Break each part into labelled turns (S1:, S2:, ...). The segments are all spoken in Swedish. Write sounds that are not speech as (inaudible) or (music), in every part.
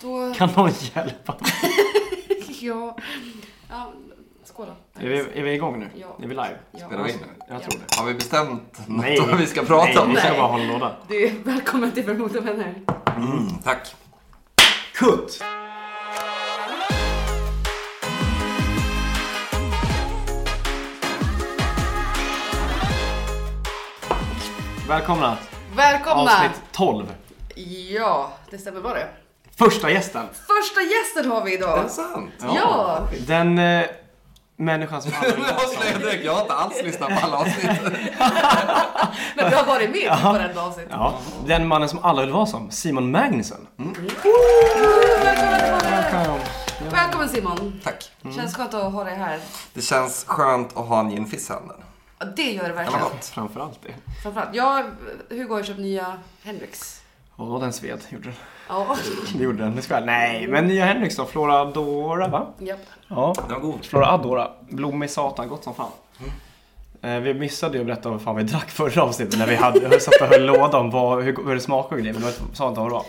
S1: Då...
S2: Kan någon hjälpa?
S1: (laughs) ja. ja. Skåla.
S2: Är vi, är vi igång nu?
S1: Ja.
S2: Är vi live?
S1: Ja.
S3: Spelar vi in nu?
S2: Jag
S1: Ja.
S2: tror det.
S3: Har vi bestämt något
S2: Nej.
S3: om vad vi ska prata
S2: Nej,
S3: om?
S2: vi ska
S1: Nej.
S2: bara hålla låda.
S1: Du, välkommen till Vermouth och vänner.
S3: Mm, tack.
S2: Kutt! Välkomna!
S1: Välkomna!
S2: Avsnitt 12.
S1: Ja, det stämmer bra det.
S2: Första gästen.
S1: Första gästen har vi
S3: Är
S1: idag.
S3: det sant?
S1: Ja!
S2: Den eh, människan som
S3: Nu
S2: aldrig (laughs)
S3: avslöjar jag direkt, jag har inte alls lyssnat på alla avsnitt.
S1: Men du har varit med på varenda avsnitt.
S2: Ja, den mannen som alla vill vara som. Simon Magnusson.
S1: Välkommen tillbaka.
S2: Ja.
S1: Välkommen Simon.
S3: Tack.
S2: Mm.
S1: Känns skönt att ha dig här.
S3: Det känns skönt att ha en ginfiss i handen.
S1: Ja, Det gör det
S3: Den var
S1: verkligen.
S3: gott.
S2: Framförallt det.
S1: Framförallt. Jag, Hugo har ju köpt nya Hendrix.
S2: Ja, den sved. Gjorde den.
S1: Ja.
S2: Det gjorde den. Det ska jag. Nej, men nya Henriks då. Flora Dora, va?
S1: Japp.
S2: Ja.
S3: Den var god.
S2: Flora Adora. Blommig satan, gott som fan.
S1: Mm.
S2: Eh, Vi missade ju att berätta vad fan vi drack förra avsnittet när vi hade, satt och höll låda om vad, hur, hur det smakade och grejer. Men vi sa inte vad det var.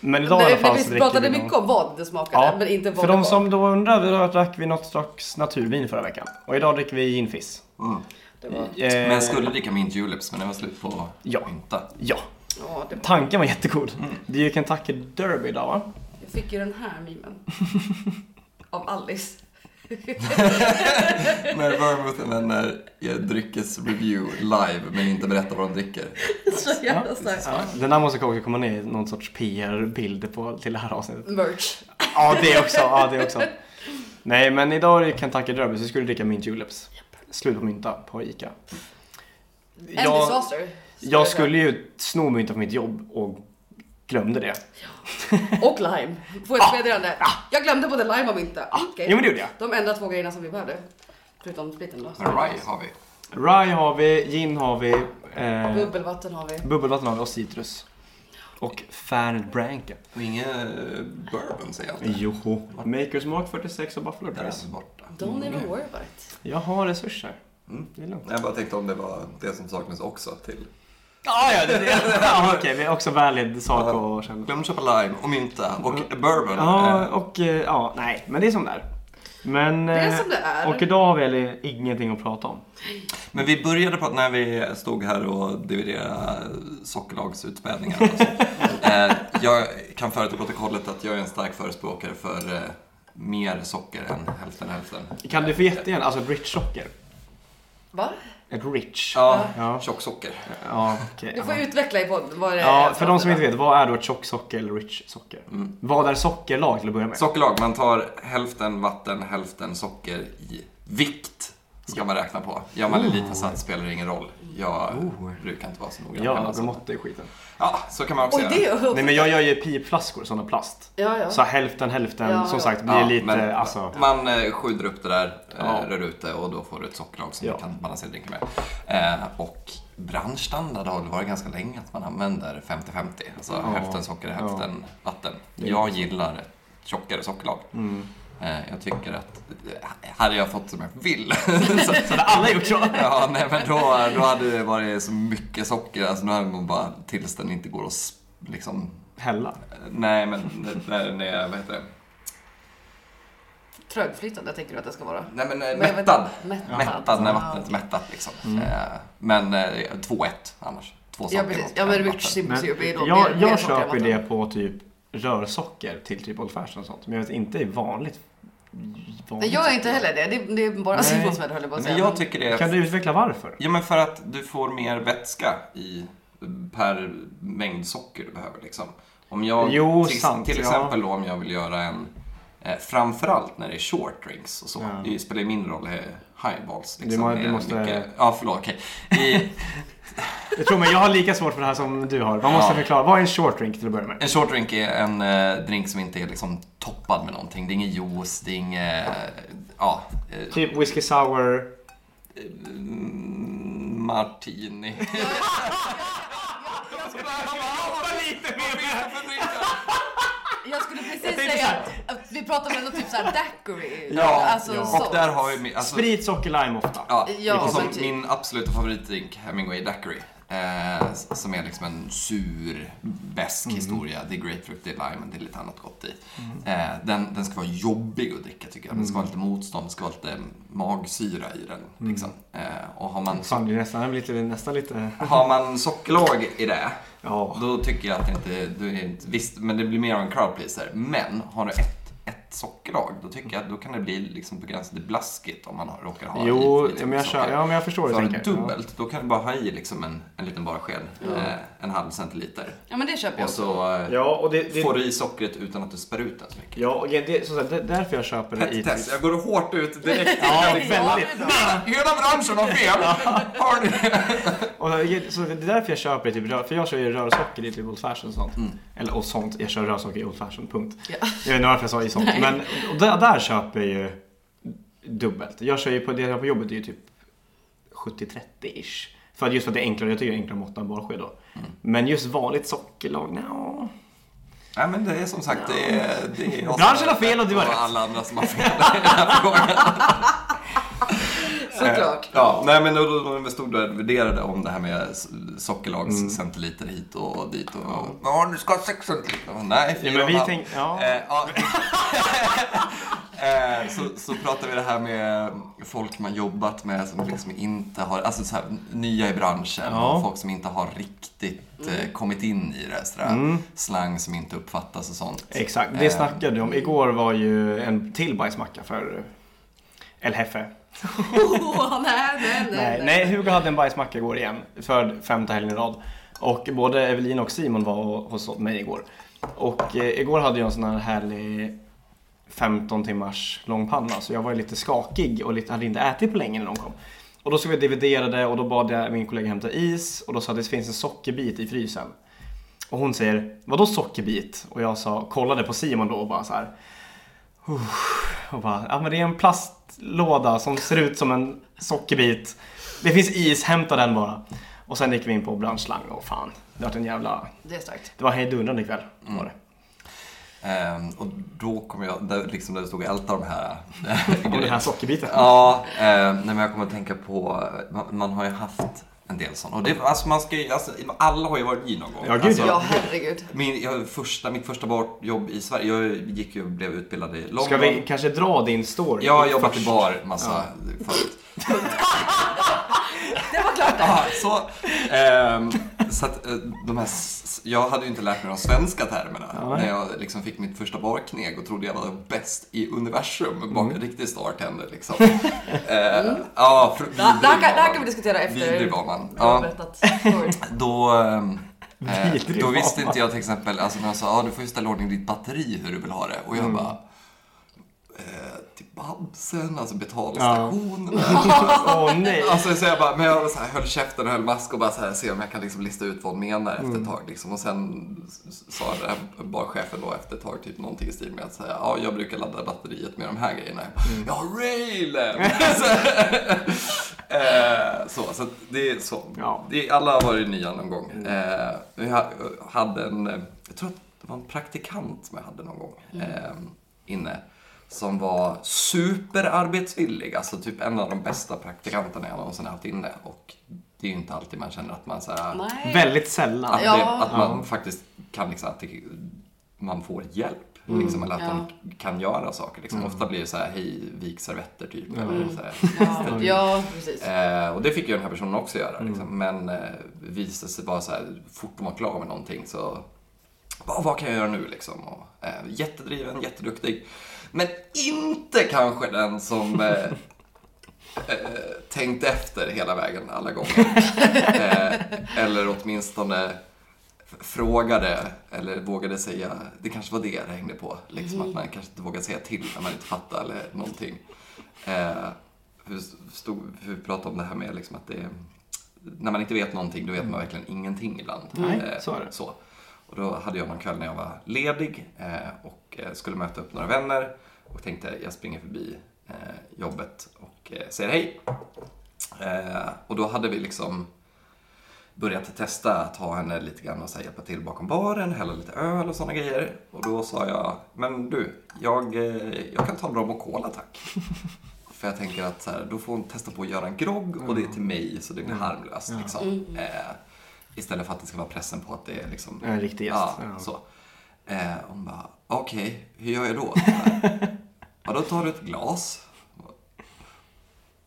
S2: Men idag i alla
S1: Nej,
S2: fall
S1: men
S2: så
S1: vi
S2: dricker vi
S1: pratade
S2: någon-
S1: mycket om vad det smakade,
S2: Ja,
S1: men inte vad
S2: För
S1: det var.
S2: de som då undrar, då drack vi något slags naturvin förra veckan. Och idag dricker vi ginfiss.
S3: Mm.
S1: Det var...
S2: Eh,
S3: Men jag skulle dricka min juleps, men det var slut på
S2: Ja.
S3: mynta.
S2: Ja,
S1: Ja, det var...
S2: tanken var jättegod. Det är ju Kentucky Derby idag va?
S1: Jag fick ju den här (laughs) mimen. Av Alice.
S3: När Vermouth och vänner gör dryckesreview live, men inte berättar vad de dricker.
S1: (laughs) Så jävla starkt.
S2: Ja, den där måste kanske komma ner i någon sorts PR-bild på, till det här avsnittet.
S1: Merch.
S2: Ja, det också. Ja, det också. Nej, men idag är det Kentucky Derby så vi skulle dricka mint juleps. Slut på mynta på Ica.
S1: En
S2: Jag,
S1: disaster.
S2: jag skulle ju sno mynta på mitt jobb och glömde det.
S1: Och lime. Få ett meddelande. Jag glömde både lime och mynta.
S2: Ah! Jo,
S1: Okej.
S2: men det gjorde jag.
S1: De enda två grejerna som vi behövde. Förutom spriten då.
S3: Men Rye har vi.
S2: Rye har vi, gin har vi, eh,
S1: Bubbelvatten har vi.
S2: bubbelvatten har vi och citrus. Och Fernet Branca.
S3: Och inget eh, bourbon säger jag inte.
S2: Joho. Makers Mark 46 och Buffalo
S3: Den
S2: Trace.
S3: är borta.
S1: Don't
S2: Mm.
S1: even worry about it.
S2: Jag har resurser.
S3: Mm.
S2: Det är lugnt.
S3: Jag bara tänkte om det var det som saknas också till
S2: Ah, ja, det, det. (laughs) ja, okej. Det är också valid sak att känna.
S3: Glöm att köpa lime och mynta och bourbon.
S2: Ja,
S3: Eh,
S2: och eh, ja, nej, men det är som det är. Men,
S1: Det är
S2: eh,
S1: som det är.
S2: Och idag har vi eller, ingenting att prata om.
S3: Men vi började prata när vi stod här och dividerade sockerlagsutspädningar
S2: (laughs)
S3: och så. Eh, Jag kan föra till protokollet att jag är en stark förespråkare för eh, mer socker än hälften hälften.
S2: Kan du få jättegärna, alltså ett rich socker?
S1: Va?
S2: Ett rich?
S3: Ja,
S2: Ja.
S3: tjocksocker.
S2: Ja, okej.
S1: Du får
S2: ja.
S1: utveckla i podd vad det
S2: Ja,
S1: är
S2: för de som inte vet, vad är då ett tjocksocker eller rich socker? Vad är sockerlag till att börja med?
S3: Mm. Sockerlag, man tar hälften vatten, hälften socker i vikt. Ska man räkna på. Gör man en liten sats spelar det ingen roll. Jag brukar inte vara så noggrann.
S2: ja,
S3: med alla
S2: alltså.
S3: sådana.
S2: mått är skiten.
S3: ja, så kan man också
S1: Oj,
S3: göra.
S1: det är
S2: Nej men jag gör ju pipflaskor, sådana plast.
S1: Ja, ja.
S2: Så hälften hälften,
S1: Ja,
S2: som
S1: ja.
S2: sagt, blir
S3: Ja,
S2: lite,
S3: men
S2: alltså.
S3: Man eh, sjuder upp det där, eh,
S2: Ja.
S3: rör ut det och då får du ett sockerlag som
S2: Ja.
S3: du kan balansera drinken med. Eh, och branschstandard har det varit ganska länge att man använder 50-50. Alltså hälften socker, hälften vatten. Jag gillar ett tjockare sockerlag.
S2: Mm.
S3: Eh, jag tycker att eh, hade jag fått som jag vill (laughs) så,
S2: Så det har alla gjort så.
S3: ja, nej, men då, då hade det varit så mycket socker. Alltså, nu hade man bara tills den inte går att s- liksom,
S2: Hälla.
S3: eh, nej men det- när den är, vad heter det?
S1: Trögflytande tänker du att det ska vara.
S3: Nej men
S1: Men
S3: eh,
S1: jag vet-
S3: mättad.
S1: Mättad.
S3: Mättad när
S1: Ja,
S3: vattnet är
S1: okej.
S3: mättat liksom.
S2: Mm.
S3: Eh, Men eh, 2-1 annars. Två
S1: Ja
S3: saker
S1: precis,
S3: mot
S1: ja men
S3: vatten.
S1: Rich Sims
S2: Men
S1: ju blir då
S2: jag
S1: mer- mer
S2: jag
S1: socker än
S2: köper ju
S1: vatten.
S2: det på typ rörsocker till typ Old Fashion och sånt. Men jag vet inte, det är vanligt.
S1: Nej
S2: vanligt
S1: jag är inte heller det, det, det är bara
S2: Nej.
S1: Simon som är det höll jag på att säga.
S3: Men jag tycker det
S2: Kan
S3: är...
S2: du utveckla varför?
S3: Ja men för att du får mer vätska i per mängd socker du behöver liksom. Om jag,
S2: Jo,
S3: till,
S2: sant,
S3: till
S2: ja.
S3: exempel då om jag vill göra en, eh, framförallt när det är short drinks och så.
S2: Ja.
S3: Det spelar ju mindre roll eh, highballs. Liksom,
S2: Du må- du
S3: med
S2: måste-
S3: mycket- Ja förlåt, okej. I-
S2: Jag tror mig, jag har lika svårt för det här som du har. Man måste
S3: Ja.
S2: förklara, vad är en short drink till att börja med?
S3: En short drink är en eh, drink som inte är liksom toppad med någonting. Det är ingen juice, det är ingen... Eh, ja. Eh,
S2: Typ whisky sour.
S3: mm, martini.
S1: Jag skulle precis
S2: tänkte
S1: säga
S2: så här.
S1: att, att vi pratar om något typ såhär daiquiri.
S3: Ja,
S1: alltså,
S2: ja.
S1: sånt.
S3: Och där har vi... min- Alltså,
S2: Sprit, socker, lime ofta.
S3: Ja, liksom
S1: Ja,
S3: som
S1: men typ.
S3: min absoluta favoritdrink, Hemingway Daiquiri. Eh, s- som är liksom en sur, besk historia. Det är grapefrukt, det är lime, det är lite annat gott i. Eh, den, den ska vara jobbig att dricka tycker jag. Den ska vara lite motstånd, det ska vara lite magsyra i den. Liksom. Eh, och har man,
S2: Fan, det är nästan lite... Nästan lite...
S3: har man sockerlag i det,
S2: Ja.
S3: då tycker jag att det inte, du är inte... Visst, men det blir mer av en crowd pleaser. Men har du ett, ett sockerlag, då tycker jag att då kan det bli liksom begränsat till blaskigt om man har, råkar ha
S2: Jo,
S3: lite- lite
S2: men jag, kör,
S3: socker.
S2: ja, men jag förstår hur
S3: Tar
S2: du
S3: du
S2: tänker.
S3: dubbelt, då kan du bara ha i liksom en, en liten barsked, eh, en halv centiliter.
S1: Ja men det köper jag.
S3: Och så eh,
S2: Ja, och det... det
S3: får du i sockret utan att du spär ut den så mycket.
S2: ja, och det, som sagt, det är därför jag köper det i... typ-
S3: Pet-test, jag går hårt ut direkt.
S2: Ja,
S1: Ja,
S2: väldigt.
S1: det är bra.
S3: Hela branschen har fel! Har ni?
S2: Och jag- så det är därför jag köper det typ rör, för jag kör ju rörsocker i typ old fashion och sånt. Eller och sånt, jag kör rörsocker i old fashion, punkt.
S1: Mm. Ja.
S2: Jag vet inte varför jag sa i sånt.
S1: Nej.
S2: Men och där, där köper jag ju dubbelt. Jag kör ju på det jag har på jobbet är ju typ 70-30-ish. För att just för att det är enklare, jag tycker det är enklare att måtta en barsked då.
S1: Mm.
S2: Men just vanligt sockerlag, no.
S3: Nej men det är som sagt, det är... Det är jag som
S2: Branschen har fel och du har rätt.
S3: alla andra som har fel i den här frågan. (laughs)
S1: Såklart.
S3: Ja, nej men då, då, då stod där och värderade om det här med s- sockerlags centiliter hit och dit och... Ja, du ska ha sex centiliter. Och Nej,
S2: Ja,
S3: fyra
S2: men
S3: och
S2: vi
S3: en halv.
S2: tänk, ja.
S3: Eh, ja. (laughs) Eh, så, så pratar vi det här med folk man jobbat med som liksom inte har, alltså så här, nya i branschen,
S2: Ja.
S3: och folk som inte har riktigt eh, kommit in i det. Sådär.
S2: Mm.
S3: Slang som inte uppfattas och sånt.
S2: Exakt, det snackade du om. Igår var ju en till bajsmacka för El Hefe.
S1: Åh, nej, nej, nej.
S2: Nej, nej, Hugo hade en bajsmacka igår igen för femte helgen i rad. Och både Evelina och Simon var hos mig igår. Och eh, igår hade jag en sån här härlig 15 timmars lång panna så jag var ju lite skakig och lite, hade inte ätit på länge när de kom. Och då såg vi dividerade och då bad jag min kollega hämta is och då sa jag att det finns en sockerbit i frysen. Och hon säger, vadå sockerbit? Och jag sa, kollade på Simon då och bara så här. "Uff." Och bara, ja men det är en plastlåda som ser ut som en sockerbit. Det finns is, hämta den bara. Och sen gick vi in på branschslang och fan, det var en jävla...
S1: Det är starkt.
S2: Det var hejdundrande kväll.
S3: Mm.
S2: Var det.
S3: Ehm, och då kom jag, där, liksom där du stod och ältade de
S2: (laughs)
S3: här
S2: Om den här sockerbiten.
S3: Ja, eh, nej, men jag kommer att tänka på, man, man har ju haft en del sånt. Och det, alltså man ska ju, alltså, alla har ju varit i någon gång.
S2: Ja, gud,
S3: alltså,
S1: Ja, herregud.
S3: min, jag, första, mitt första bar- jobb i Sverige, jag gick ju och blev utbildad i London.
S2: Ska vi kanske dra din story?
S3: Jag har jobbat i
S2: först?
S3: bar massa förut.
S1: Det var klart det.
S3: Ja, Ah, så, ehm, så att eh, de här, s- s- jag hade ju inte lärt mig de svenska termerna när jag liksom fick mitt första barkneg och trodde jag var bäst i universum. Bak, Riktig startender liksom. Eh, Ja, fr-
S1: Det här- det här kan-
S3: vidrig
S1: det här
S3: var
S1: kan vi
S3: man.
S1: diskutera efter.
S3: Vidrig var man.
S1: Jag har
S3: Ja,
S1: berättat story.
S3: då, ehm, eh,
S2: Vidrig
S3: då
S2: var
S3: visste
S2: man.
S3: inte jag till exempel, alltså när de sa ah, du får ju ställa i ordning ditt batteri hur du vill ha det. Och jag bara, eh, till Babsen, alltså (laughs) betalstationen.
S2: Åh nej!
S3: Alltså så jag bara, men jag så här, höll käften och höll mask och bara så här, se om jag kan liksom lista ut vad hon menar efter ett tag. Liksom. Och sen s- sa den här barchefen då efter ett tag typ någonting i stil med att säga, ja jag brukar ladda batteriet med de här grejerna. Jag bara, Ja, railen! Alltså, så, eh, så, så att det är så.
S2: Ja.
S3: Det, alla har varit nya någon gång.
S1: Mm.
S3: Eh, jag ha- hade en, eh, jag tror att det var en praktikant som jag hade någon gång
S1: Mm.
S3: eh, inne. Som var superarbetsvillig, alltså typ en av de bästa praktikanterna jag någonsin haft inne. Och det är ju inte alltid man känner att man så
S1: (laughs)
S3: här,
S1: Nej.
S2: Väldigt sällan.
S3: att, det,
S1: Ja.
S3: att man faktiskt kan liksom, att det, man får hjälp.
S1: Mm.
S3: Liksom, eller att de kan göra saker. Liksom. Ofta blir det så här, hej, vik servetter typ.
S1: Mm.
S3: Eller så här,
S1: Ja, ja, precis.
S3: Eh, och det fick ju den här personen också göra. Liksom. Men eh, visade sig bara så här, fort de var klara med någonting så, vad, vad kan jag göra nu liksom? Och, eh, jättedriven, jätteduktig. Men inte kanske den som eh, eh, tänkt efter hela vägen alla gånger. eh, eller åtminstone f- frågade eller vågade säga, det kanske var det det hängde på. Liksom, Att man kanske inte vågade säga till när man inte fattar eller någonting. Eh, hur, stod, hur vi pratade om det här med liksom att det är, när man inte vet någonting, då vet man verkligen ingenting ibland.
S2: Mm. Nej,
S3: Eh,
S2: så är det.
S3: Så. Och då hade jag någon kväll när jag var ledig eh, och eh, skulle möta upp några vänner och tänkte jag springer förbi eh, jobbet och eh, säger hej. Eh, och då hade vi liksom börjat testa att ha henne lite grann och så här, hjälpa till bakom baren, hälla lite öl och sådana grejer. Och då sa jag, men du, jag, eh, jag kan ta en rom och cola tack.
S2: (laughs)
S3: För jag
S2: Mm.
S3: tänker att så här, då får hon testa på att göra en grogg och det är till mig så det blir harmlöst. Liksom. Eh, Istället för att det ska vara pressen på att det är liksom...
S2: En riktig gäst.
S3: Ja,
S2: Ja.
S3: Så. Eh, hon bara, okej, hur gör
S2: (laughs)
S3: jag då? ja, då tar du ett glas.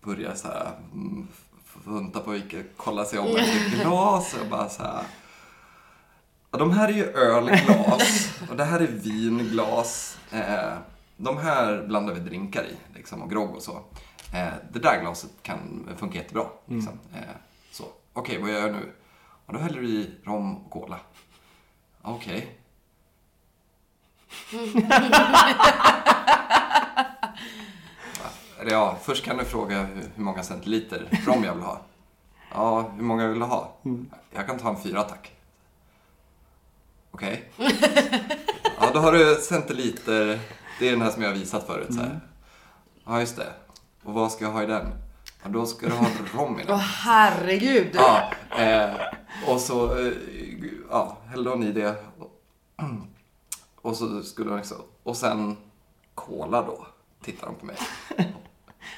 S3: Börjar så här, mm, funta på vilket, kolla sig om efter glas och bara så här. Ja, de här är ju ölglas och det här är vinglas. Eh, de här blandar vi drinkar i, liksom, och grogg och så. Eh, det där glaset kan funka jättebra. Liksom. Eh, så. Okej, vad gör jag nu? Ja, då häller du i rom och cola. Okej. Eller ja, först kan du fråga hur hur många centiliter rom jag vill ha. Ja, hur många vill du ha? Jag kan ta en fyra tack. Okej. Ja, då har du centiliter. Det är den här som jag har visat förut. Så här. Ja, just det. Och vad ska jag ha i den? Ja, då ska du ha rom i
S1: Åh
S3: den.
S1: herregud.
S3: Ja, eh, och så eh, ja, hällde hon i det. (clears throat) Och så skulle hon liksom, och sen cola då, tittar hon på mig.
S2: Ja.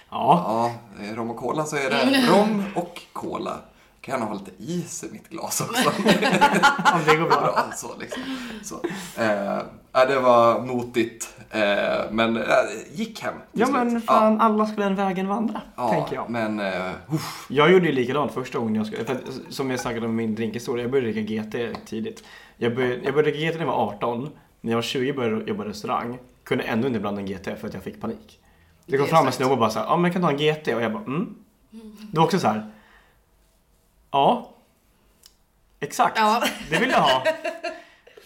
S3: Ja, eh, rom och cola så är
S2: Mm.
S3: det rom och cola. Kan gärna ha lite is i mitt
S2: (laughs)
S3: glas också.
S2: ja, det går bra.
S3: Bra, så liksom. så. Eh, ja, det var motigt, eh, men eh, gick hem till
S2: Ja
S3: slut.
S2: men fan, alla ska den vägen vandra,
S3: ja,
S2: tänker
S3: ja,
S2: jag.
S3: men eh, uff,
S2: Jag gjorde ju likadant första gången jag skulle, för att, som jag snackade om min drinkhistoria, jag började dricka GT tidigt. Jag började, jag började dricka GT när jag var 18, när jag var 20 började jag jobba i restaurang, kunde ändå inte blanda en GT för att jag fick panik. Det kom
S1: Det är
S2: fram en
S1: exakt.
S2: snubbe och bara såhär, ja men jag kan ta en GT och jag bara, mm. Det var också så här. ja. Exakt,
S1: Ja.
S2: det vill jag ha.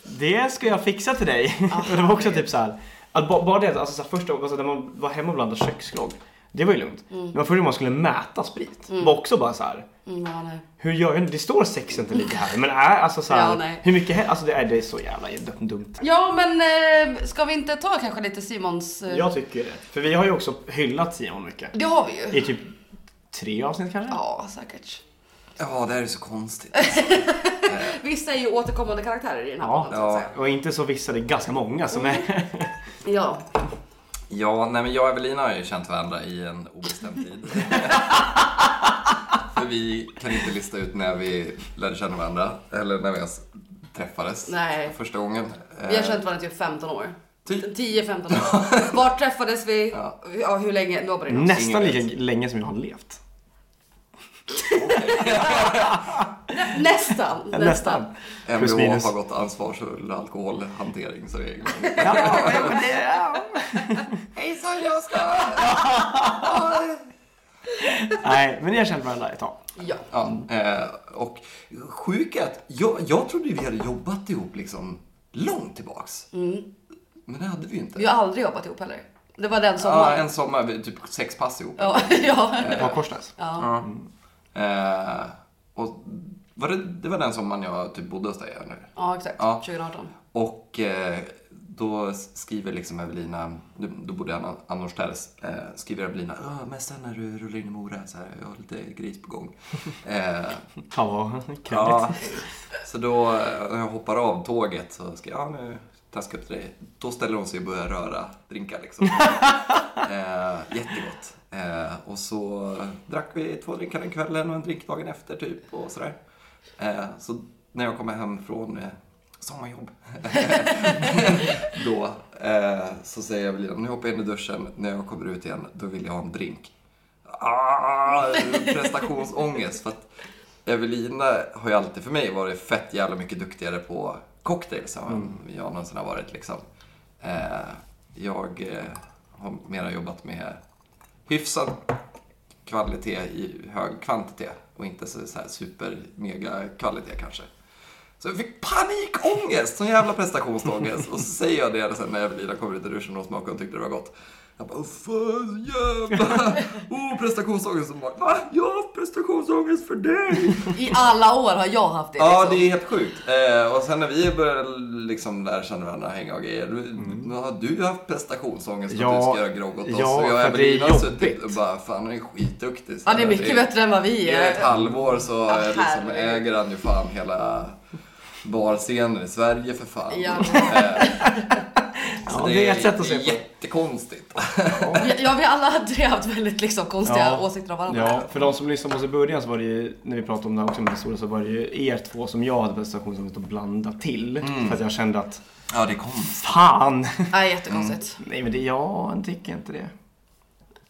S2: Det ska jag fixa till dig. och (laughs) det var också typ så här. Att ba- bara det att alltså, så här, första gången alltså, när man var hemma och blandade köksgrogg. Det var ju lugnt. Men första gången man skulle mäta sprit var också bara så här.
S1: Mm, ja, nej.
S2: Hur gör jag nu? Det står 6 centiliter här. Men är alltså så här,
S1: Ja, nej.
S2: Hur mycket he- Alltså det är, det är så jävla dum- dumt.
S1: ja men eh, ska vi inte ta kanske lite Simons... Eh,
S2: Jag tycker det. För vi har ju också hyllat Simon mycket.
S1: Det har vi ju.
S2: I typ tre avsnitt kanske?
S1: Ja säkert.
S3: ja, det här är
S2: (laughs)
S3: så konstigt.
S1: Vissa är ju återkommande karaktärer i den här
S2: Ja.
S1: podden så att säga.
S2: Och inte så vissa, det är ganska många som är...
S1: Ja.
S3: Ja, nej men jag och Evelina har ju känt varandra i en obestämd tid.
S1: (laughs)
S3: För vi kan inte lista ut när vi lärde känna varandra, eller när vi ens träffades
S1: Nej.
S3: första gången.
S1: Vi har
S3: Eh,
S1: känt varandra i typ 15 år.
S3: Typ.
S1: 10-15
S3: (laughs)
S1: år. Var träffades vi?
S3: Ja.
S1: Ja, hur länge? Nobody knows.
S2: (laughs) nästan
S3: Ingen
S2: lika länge som jag har levt.
S1: Nästan. Nästan.
S2: (laughs) Nästan. Plus
S3: MBH
S2: minus.
S3: har gått ansvarsfull alkoholhantering, så det är
S2: Ja, men det är...
S3: Hejsan, jag ska...
S2: Nej, men ni har känt varandra ett tag.
S1: Ja.
S3: Ja, eh, och sjukt att jag, jag trodde vi hade jobbat ihop liksom långt tillbaks.
S1: Mm.
S3: Men det hade vi ju inte.
S1: Vi har aldrig jobbat ihop heller. Det var den
S3: Ja,
S1: sommaren.
S3: en sommar, vi- typ sex pass ihop.
S1: Ja, (laughs) ja.
S2: På Korsnäs.
S1: ja.
S3: Ja. Eh, och var det, det var den sommaren jag typ bodde hos dig här nu.
S1: ja exakt.
S3: Ja.
S1: 2018.
S3: Och eh, då skriver liksom Evelina, då- då bodde jag an- annorstädes, eh, skriver Evelina "Ah, men sen när du rullar in i Mora så här, jag har lite gris på gång. Eh,
S2: Ja, kredit.
S3: ja, så då eh, när jag hoppar av tåget så ska jag, ja nu taska upp till dig. Då ställer hon sig och börjar röra drinkar liksom. Eh, jättegott. Eh, och så drack vi två drinkar den kvällen och en drink dagen efter typ och sådär. Eh, så när jag kommer hem från eh, sommarjobb då eh, så säger jag Evelina, nu hoppar jag in i duschen, när jag kommer ut igen då vill jag ha en drink. Ah, prestationsångest för att Evelina har ju alltid för mig varit fett jävla mycket duktigare på cocktails än vad jag någonsin har varit liksom. Eh, jag eh, har mera jobbat med hyfsad kvalitet i hög kvantitet och inte så, så här super mega kvalitet kanske. Så jag fick panikångest, sån jävla prestationsångest. Och så säger jag det sen när Evelina kommer ut i duschen och smakar och tyckte det var gott. Jag bara, "Åh, fan jävla, oh, prestationsångest. Och hon bara, va? Jag har haft prestationsångest för dig.
S2: (laughs)
S1: I alla år har jag haft det.
S3: Ja,
S1: liksom.
S3: det är helt sjukt. Eh, och sen när vi började liksom lära känna varandra, hänga och grejer. Du, nu har du haft prestationsångest för att
S2: Mm. Ja,
S3: du ska göra grogg åt oss.
S2: ja,
S3: och jag och
S2: för det är
S3: Evelina har suttit
S2: jobbigt.
S3: och bara, fan han är skitduktig. Så
S1: Han är
S3: här,
S1: mycket bättre än vad vi
S3: i ett
S1: är.
S3: halvår så
S1: Ja, Ah,
S3: eh, liksom
S1: herregud.
S3: äger han ju fan hela barscenen i Sverige för fan.
S1: Ja.
S3: Eh, Så
S2: det är ett sätt att se på det.
S3: jättekonstigt.
S1: Vi- Ja, vi alla hade ju haft väldigt liksom, konstiga
S2: Ja.
S1: åsikter om varandra.
S2: Ja, för de som lyssnade på oss i början så var det ju, när vi pratade om den här också med historia, så var det ju er två som jag hade prestationsångest att blanda till.
S3: Mm.
S2: För att jag kände att,
S3: Ja, det är konstigt.
S2: fan! (laughs)
S1: Nej, jättekonstigt.
S2: Nej men det, jag tycker inte det.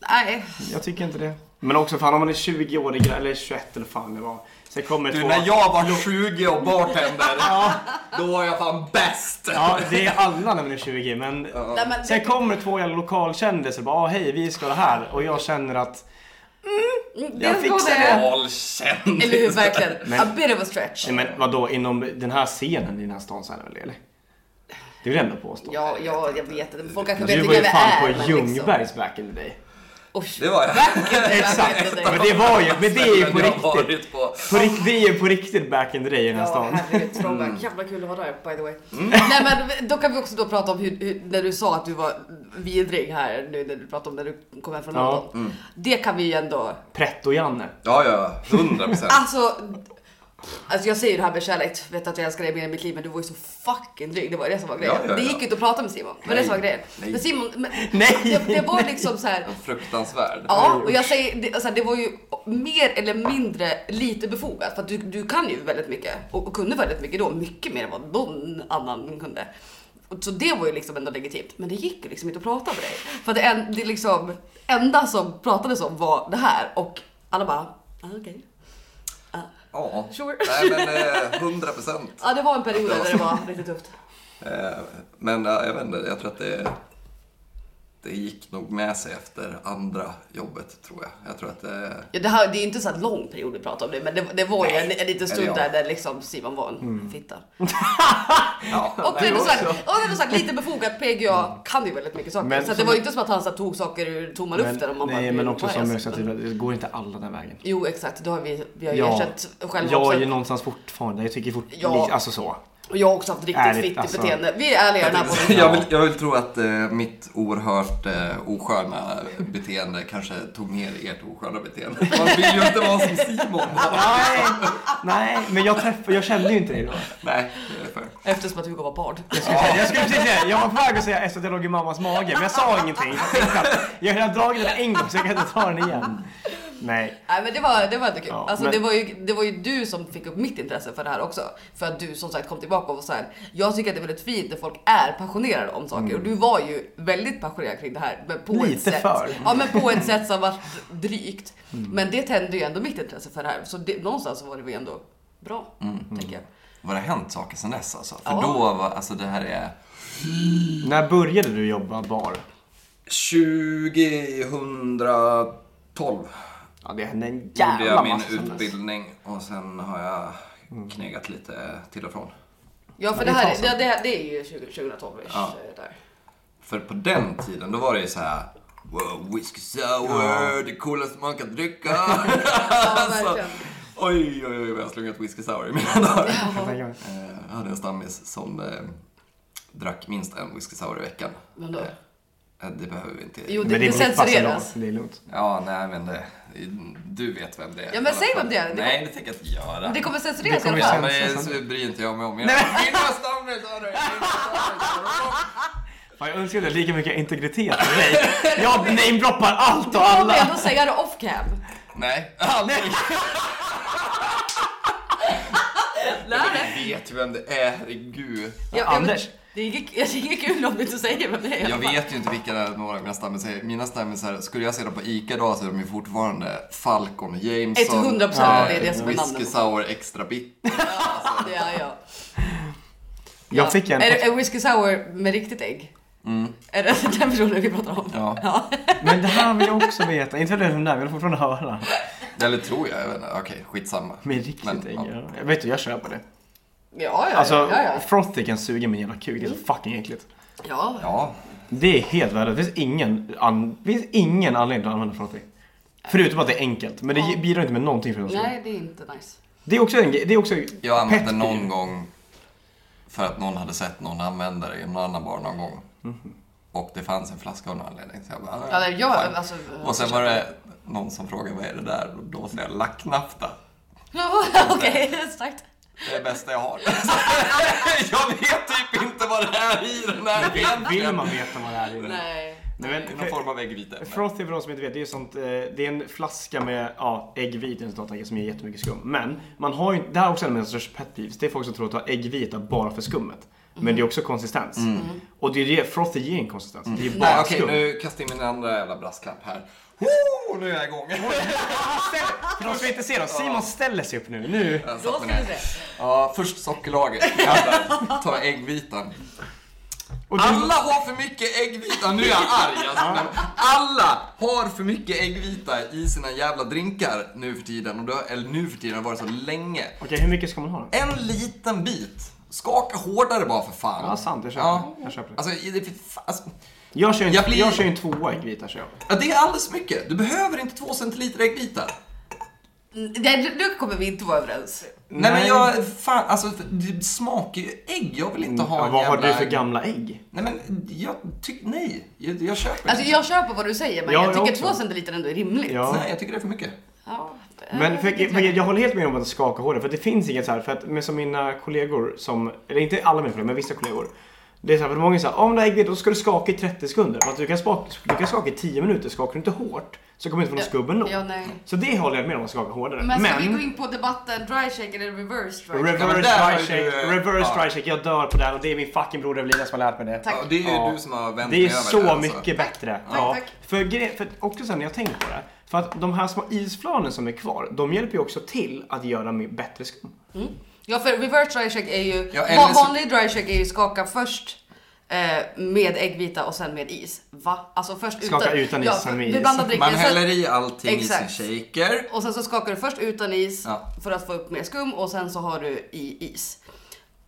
S1: Nej,
S2: Jag tycker inte det. Men också fan om man är 20 år eller 21 eller fan det var. Sen kommer
S3: Du,
S2: två...
S3: när jag var 20 och bartender, då var jag fan bäst.
S2: Ja, det är alla när man är 20 men...
S1: nej men
S2: Sen kommer två jävla lokalkändisar och bara ah, hej vi ska det här och jag känner att
S1: Mm, det
S2: jag
S1: ska
S2: fixar
S3: Valkändis.
S1: Eller hur, verkligen.
S2: Men-
S1: A bit of a stretch.
S2: Nej men vadå inom den här scenen i den här stan så är det väl det, eller? Det vill jag ändå påstå.
S1: Ja, ja, jag vet inte. Men Folk kanske vet
S2: Du var ju
S1: vilka vi
S2: fan
S1: är.
S2: på
S1: men liksom.
S2: Ljungbergs back in the day.
S1: Oj,
S3: Det var jag.
S1: verkligen,
S2: Exakt.
S1: verkligen.
S2: Men det var ju, men det är ju på
S3: Jag har
S2: riktigt.
S3: varit på.
S2: På riktigt, det är ju på riktigt back in the day i den här
S1: Ja,
S2: stan.
S1: herregud. throwback.
S3: Mm.
S1: Jävla kul att ha där by the way. Nej men då kan vi också då prata om hur, hur, när du sa att du var vidrig här nu när du pratade om när du kom hem från
S2: Ja.
S1: London.
S3: Mm.
S1: Det kan vi ju ändå,
S2: Pretto-Janne.
S3: Ja, ja. 100 procent.
S1: alltså. Alltså jag säger det här med kärlek, vet att jag älskar dig mer än mitt liv men du var ju så fucking dryg, det var det som var grejen.
S3: Ja, ja, ja.
S1: Det gick ju inte att prata med Simon, men det
S3: Nej.
S1: som var grejen.
S3: Nej.
S1: Men Simon, men,
S2: Nej,
S1: det, det var liksom så här.
S3: Fruktansvärd.
S1: Ja, och jag säger, det, alltså, det var ju mer eller mindre lite befogat för att du, du kan ju väldigt mycket och, och kunde väldigt mycket då, mycket mer än vad någon annan kunde. Och Så det var ju liksom ändå legitimt, men det gick ju liksom inte att prata med dig. För det, en, det liksom, enda som pratades om var det här och alla bara, ah, okej.
S3: Ja.
S1: Sure.
S3: Nej, men eh, 100 procent.
S1: Ja, det var en period där det (laughs) var riktigt tufft.
S3: Eh, Men eh, jag vet inte, jag tror att det, det gick nog med sig efter andra jobbet, tror jag. Jag tror att eh, det...
S1: Ja, det, här, det är ju inte så här lång period vi pratar om det, men det, det var ju en, en liten stund
S3: Eller ja.
S1: där, där liksom Simon var en fitta.
S3: Ja,
S1: Och det är sagt, och det är sagt, lite befogat, PGA kan ju väldigt mycket saker.
S2: Mm. Men
S1: så att det
S2: som-
S1: var ju inte som att han så här tog saker ur tomma luften. om man bara,
S2: nej, men också
S1: "Vad är
S2: som
S1: jag?"
S2: jag sa tidigare, det går inte alla den vägen.
S1: Jo exakt, det har vi, vi har ju
S2: Ja.
S1: erkänt själva
S2: Jag
S1: också.
S2: är ju någonstans fortfarande, jag tycker fortfarande,
S1: Ja.
S2: alltså så.
S1: Och jag har också haft riktigt
S2: Ärligt,
S1: fittigt
S2: alltså.
S1: beteende. Vi är ärliga i den här podden.
S3: jag, vill, jag vill tro att eh, mitt oerhört eh, osköna beteende kanske tog ner ert osköna beteende. (laughs) Man vill ju inte vara som Simon.
S2: Nej, nej men jag, träffade, jag kände ju inte dig då.
S3: Nej, det är för.
S1: Eftersom att Hugo var barn.
S2: Jag skulle, säga, jag skulle precis säga, jag var på väg att säga efter att jag låg i mammas mage, men jag sa ingenting. Jag tänkte att jag har redan dragit den en gång så jag kan inte ta den igen. Nej.
S1: Nej men det var, det var inte kul.
S2: Ja,
S1: alltså,
S2: men-
S1: det, var ju, det var ju du som fick upp mitt intresse för det här också. För att du som sagt kom tillbaka och var så här. Jag tycker att det är väldigt fint när folk är passionerade om saker. Och du var ju väldigt passionerad kring det här. Men på ett
S2: Mm. Lite
S1: sätt,
S2: för. Mm.
S1: Ja men på ett sätt som var drygt. Men det tände ju ändå mitt intresse för det här. Så det, någonstans var det väl ändå bra.
S2: Mm,
S1: Tänker jag.
S3: Vad det har hänt saker sedan dess alltså. För
S1: Ja.
S3: då var, alltså det här är
S2: När började du jobba bar?
S3: 2012.
S2: Ja, det hände en
S3: gjorde
S2: jävla
S3: jag min
S2: massa sen dess.
S3: utbildning och sen har jag knegat lite till och från.
S1: Ja för
S2: Ja,
S1: det
S2: det
S1: här
S2: tar
S1: det, det, det är ju 20- 2012 ish
S3: Ja.
S1: där.
S3: För på den tiden, då var det ju så här. Wow, whisky sour, det coolaste man kan dricka.
S1: (laughs) Ja,
S3: Alltså,
S1: verkligen.
S3: oj, oj, oj, vad jag har slungat whisky sour i mina dagar.
S2: Jag tänker,
S3: Eh, Jag hade en stammis som eh, drack minst en whisky sour i veckan.
S1: Men då?
S3: Eh, det behöver vi inte.
S1: Jo det,
S2: Men
S1: det,
S2: det är mitt pass ändå,
S1: censureras.
S2: så det är lugnt.
S3: Ja, nej men det, du vet vem det är.
S1: Ja, men säg vem det är. Det-
S3: Nej, det tänker jag inte göra.
S1: Det kommer censureras
S2: Det kommer
S1: i
S3: Ja,
S1: alla
S2: Sen-
S1: fall.
S3: men det
S2: sen-
S3: så bryr inte jag mig om. Jag
S2: Nej,
S3: Min stammis hörru! Min
S1: (laughs)
S3: stammis,
S2: Fan, jag önskar jag hade lika mycket integritet som dig. Jag namedroppar allt och
S1: Jag vill
S2: alla.
S1: ändå säga det off cam.
S3: Nej, (laughs) aldrig!
S1: Lärare.
S3: Jag vet ju vem det är, herregud.
S1: Ja, ja, men
S2: Anders.
S1: Det är inget- (laughs) det är inget kul om du inte säger vem det är.
S3: Jag vet ju inte vilka det är, några av mina stammisar är. Mina stammisar, skulle jag se dem på ICA idag så är de ju fortfarande Falcon, Jameson,
S1: 100%
S2: det
S1: är det som är namnet.
S3: Whisky Sour, Extra Bitter.
S1: Det är jag. Ja.
S2: Jag fick en... Mm.
S1: Är, det- är whisky sour med riktigt ägg? Är det (laughs) den personen vi pratar om?
S3: Ja.
S2: Men det här vill jag också veta. Inte heller den där, jag vill fortfarande höra.
S3: Eller tror jag, jag vet inte. Okej, skitsamma.
S2: Med riktigt
S3: Men,
S2: ägg.
S3: ja.
S2: Ja. Jag vet du, jag kör på det.
S1: Ja, ja,
S2: Alltså,
S1: ja, ja. Mm.
S2: frothy kan suga min jävla kuk. Det är så fucking äckligt.
S1: ja.
S3: Ja,
S2: Det är helt värdelöst. Det finns ingen, an... det finns ingen anledning att använda frothy. Förutom att det är enkelt. Men det
S1: Ja.
S2: bidrar inte med någonting för oss.
S1: Nej, det är inte nice.
S2: Det är också en grej- Det är också
S3: jag har använt
S2: pet
S3: det
S2: peeve.
S3: någon gång för att någon hade sett någon använda det i någon annan bar någon gång. Och det fanns en flaska av någon anledning. Så jag bara,
S1: Ja, nej, jag,
S3: fine.
S1: alltså,
S3: Och sen var det någon som frågade vad är det där? Och då sa jag lacknafta.
S1: Ja, (laughs) Okej, starkt.
S3: Det är det bästa jag har. (laughs) jag vet typ inte vad det är i den här
S2: Vill man veta vad det här är?
S1: Nej.
S2: Nej, men-
S3: Det är Någon form av äggvite.
S2: Frothy för de som inte vet, det är, sånt, eh, det är en flaska med ja, äggvita i en sån som ger jättemycket skum. Men man har ju, det här är också en av mina största pet peeves. Det är folk som tror att du har äggvita bara för skummet. Men
S1: Mm.
S2: det är också konsistens. Och det är det, Frothy ger en konsistens. Det
S1: Mm.
S2: är bara
S3: Nej, okej,
S2: skum.
S3: nu kastar jag in min andra jävla brasklapp här. Oh, nu är jag igång.
S2: För de som inte ser dem, Simon ställer sig upp nu. Nu!
S3: Jag
S1: Då
S3: satte
S1: ska
S3: mig
S1: vi
S3: ner.
S1: se.
S3: Ja, först sockerlager. Jävlar, Ta äggvitan.
S2: Och du,
S3: Alla har för mycket äggvita, nu är jag arg alltså, men Alla har för mycket äggvita i sina jävla drinkar nu för tiden. Och det har, eller nu för tiden, det har varit så länge.
S2: Okej, hur mycket ska man ha då?
S3: En liten bit. Skaka hårdare bara för fan.
S2: Ja, sant. Jag köper,
S3: Ja.
S2: det. jag köper det.
S3: Alltså, i- det, för- alltså,
S2: Jag kör ju en, jag
S3: jag blir-
S2: kör ju en tvåa äggvita. Kör jag.
S3: ja, det är alldeles för mycket. Du behöver inte två centiliter äggvita.
S1: Nej, nu kommer vi inte vara överens.
S3: Nej, men
S2: Nej.
S3: jag, fan, alltså det smakar ju ägg. Jag vill inte ha
S2: Ja,
S3: en
S2: Mm, vad har
S3: jävla...
S2: du för gamla ägg?
S3: Nej men jag tycker, nej. Jag, jag köper
S1: Alltså
S3: inte.
S1: jag köper vad du säger men
S2: Ja,
S1: jag
S2: jag
S1: tycker
S2: också.
S1: två centiliter ändå är rimligt.
S2: Ja.
S3: Nej, jag tycker det är för mycket.
S1: Ja,
S2: Men
S1: eh,
S2: för,
S1: lite
S2: för, jag håller helt med om att skaka håret. För det finns inget så här. För att men som mina kollegor som, eller inte alla mina kollegor, men vissa kollegor. Det är så här, för många är så här, om du har äggvita då ska du skaka i 30 sekunder. För att du kan, skaka, du kan skaka i 10 minuter. Skakar du inte hårt så kommer du inte få någon skubben
S1: grann.
S2: nog.
S1: Ja, nej.
S2: Så det håller jag med om att skaka hårdare.
S1: Men alltså, ska vi gå in på debatten dry shake eller reverse dry shake?
S3: Ja,
S2: reverse
S3: men där har
S2: dry
S3: ju du,
S2: shake,
S3: eh,
S2: reverse
S3: ja.
S2: dry shake. Jag dör på den och det är min fucking broder Evelina som har lärt mig det.
S1: Tack.
S3: Ja, det är ju
S2: Ja.
S3: du som har vänt
S2: Det är
S3: mig över
S2: så
S3: alltså.
S2: mycket bättre.
S1: Tack,
S2: ja.
S1: tack.
S2: För, gre- för att också sen när jag tänkt på det. För att de här små isflanen som är kvar, de hjälper ju också till att göra mig bättre skum.
S1: Ja för reverse dry shake är ju,
S3: Ja, eller
S1: va-
S3: så-
S1: vanlig dry shake är ju skaka först eh, med äggvita och sen med is. Va? Alltså först
S2: Skaka utan is,
S1: ja,
S2: sen med
S1: Du
S2: is.
S1: blandar
S3: Man
S1: drycken
S3: häller
S1: sen,
S3: i allting i
S1: Exakt.
S3: sin shaker.
S1: och sen så skakar du först utan is
S3: Ja.
S1: för att få upp mer skum och sen så har du i is.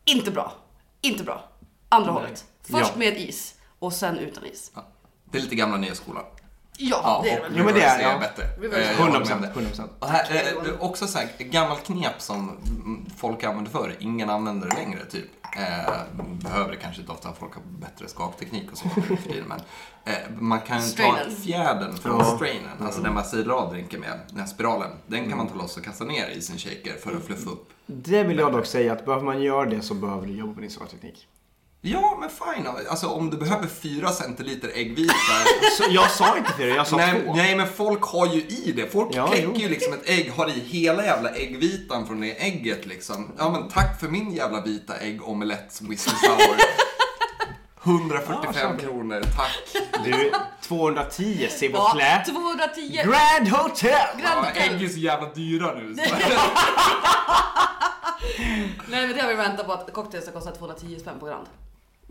S1: Inte bra. Inte bra. Andra hållet. Först
S2: Ja.
S1: med is och sen utan is.
S3: Ja. Det är lite gamla nya skolan.
S1: Ja,
S3: Ja,
S1: det är det
S3: och
S1: väl.
S2: Jo, men det är-
S3: reverse
S2: ja.
S3: bättre.
S1: Reverse.
S3: Eh, jag håller
S2: 100%.
S3: med om det.
S2: 100%.
S3: Och här, eh, det är också så här, ett gammalt knep som mm, folk använde förr, ingen använder det längre typ. Eh, behöver det kanske inte ofta, folk har bättre skakteknik och så nu för tiden, men eh, man kan ta
S1: Strainen.
S3: fjädern från
S2: Ja.
S3: strainen, alltså den man silar av drinken med, den här spiralen. Den kan man ta loss och kasta ner i sin shaker för att fluffa upp.
S2: Det vill jag dock säga att behöver man göra det så behöver du jobba på din svarteknik.
S3: Ja, men fine. Alltså om du behöver fyra centiliter äggvita
S2: Så jag sa inte fyra, jag sa
S3: Nej,
S2: två.
S3: nej men folk har ju i det. Folk
S2: Ja,
S3: kläcker
S2: jo.
S3: ju liksom ett ägg, har i hela jävla äggvitan från det ägget liksom. Ja men tack för min jävla vita äggomelett whisky sour. 145 kronor, tack.
S2: Du, 210
S1: Ja,
S2: Silverflä.
S1: 210.
S2: Grand Hotel!
S1: Grand
S3: Ja,
S1: Hotel.
S3: ägg är så jävla dyra nu. (laughs) Så.
S1: (laughs) Nej men det har vi väntat på att cocktails ska kosta 210 spänn på Grand.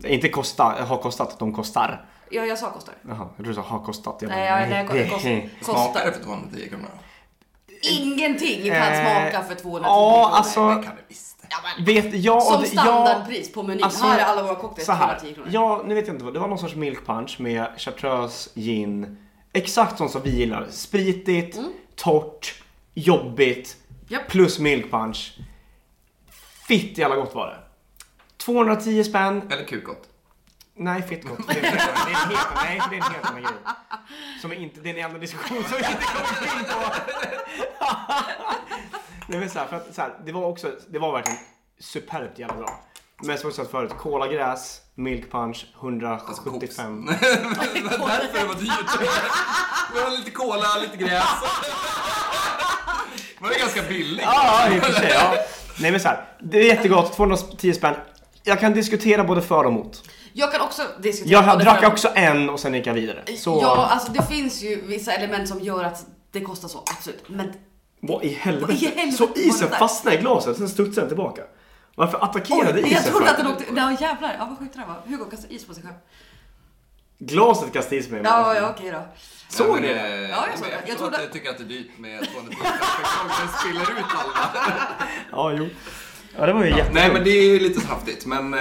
S2: Inte kosta, har kostat, de kostar.
S1: Ja jag sa kostar.
S2: Jaha, jag trodde du sa har kostat. Jag bara, Eh,
S1: Nej, nej, nej,
S2: det-
S1: kost,
S3: Smakar det
S1: kostar.
S3: för 210 kronor?
S1: Ingenting kan
S2: Eh,
S1: smaka för 210
S2: Ja,
S1: kronor.
S2: alltså.
S3: Det kan det visst.
S2: Vet, jag,
S1: Alltså, Som
S2: jag,
S1: standardpris på menyn.
S2: Alltså,
S1: här är alla våra cocktails
S2: Så här,
S1: 210 kronor.
S2: ja, nu vet jag inte vad. Det var någon sorts milk punch med chartreuse, gin. Exakt sånt som vi gillar. Spritigt, torrt, jobbigt.
S1: Mm. Japp.
S2: Plus milk punch. Fitt jävla gott var det. 210 spänn.
S3: Eller kukott.
S2: Nej, fitt gott. Det är en helt- det är en helt- nej, det är en helt annan grej. Som är inte, det är en annan diskussion som vi inte kommer in på. (laughs) Nej men så här, för att, så här, det var också, det var verkligen superbt jävla bra. Men som jag sa förut, kolagräs, milk punch,
S3: Alltså koks.
S2: 175.
S3: (laughs) Därför det var dyrt. (laughs) Det var lite cola, lite (laughs) gräs. Det var ganska billigt.
S2: Ja, i och för sig. Ja. Nej men så här, det är jättegott, 210 spänn. Jag kan diskutera både för och emot.
S1: Jag kan också diskutera.
S2: Jag
S1: vad det
S2: drack
S1: för-
S2: också en och sen gick jag vidare. Så
S1: Ja alltså det finns ju vissa element som gör att det kostar så, absolut. Men Vad
S2: vad i
S1: i
S2: helvete?
S1: helvete
S2: Så
S1: var det
S2: isen
S1: där?
S2: fastnade i glaset, sen studsade den tillbaka. Varför attackerade
S1: Oj,
S2: isen?
S1: jag trodde
S2: för?
S1: att den åkte... Nej jävlar, ja, vad sjukt det där var. Hugo kastade is på sig själv.
S2: Glaset kastade i sig mig.
S1: Ja, ja okej då.
S2: Såg
S3: Ja, men,
S2: ni det?
S3: eh,
S1: Ja, jag såg
S3: men
S1: det. Jag
S3: förstår
S1: trodde-
S3: att du tycker att det är dyrt med 200 kronor. Den spiller ut alla.
S2: Ja, jo. Ja, det var ju jätteroligt.
S3: Nej, men det är ju lite saftigt. Men eh,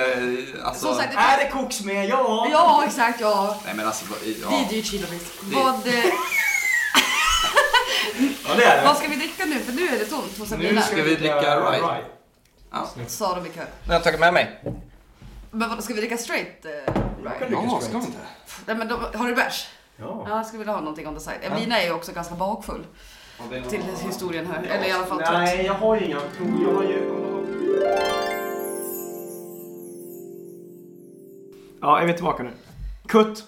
S3: alltså...
S1: Som sagt,
S2: Är det koks med? Ja!
S1: ja exakt ja.
S3: Nej, men alltså... vad-
S1: Det är
S3: Ja.
S1: dyrt kilopris.
S3: Det-
S1: Vad, eh,
S2: Ja, det är
S1: vad ska vi dricka nu? För nu är det tomt hos Sabina.
S3: Nu ska vi dricka Rye. Ja.
S1: Sa de i kör.
S3: Nu har jag tagit med mig.
S1: Men vadå, ska vi dricka straight? eh, Ryan?
S3: Ja, ska vi inte?
S1: Nej, men då, har du bärs?
S2: Ja.
S1: Ja, jag skulle vilja ha någonting on the side. Evelina är ju också ganska bakfull till historien här. Eller i alla fall trött.
S2: Nej, jag har ju inga. Jo, Jag har ju... Ja, är vi tillbaka nu? Kutt!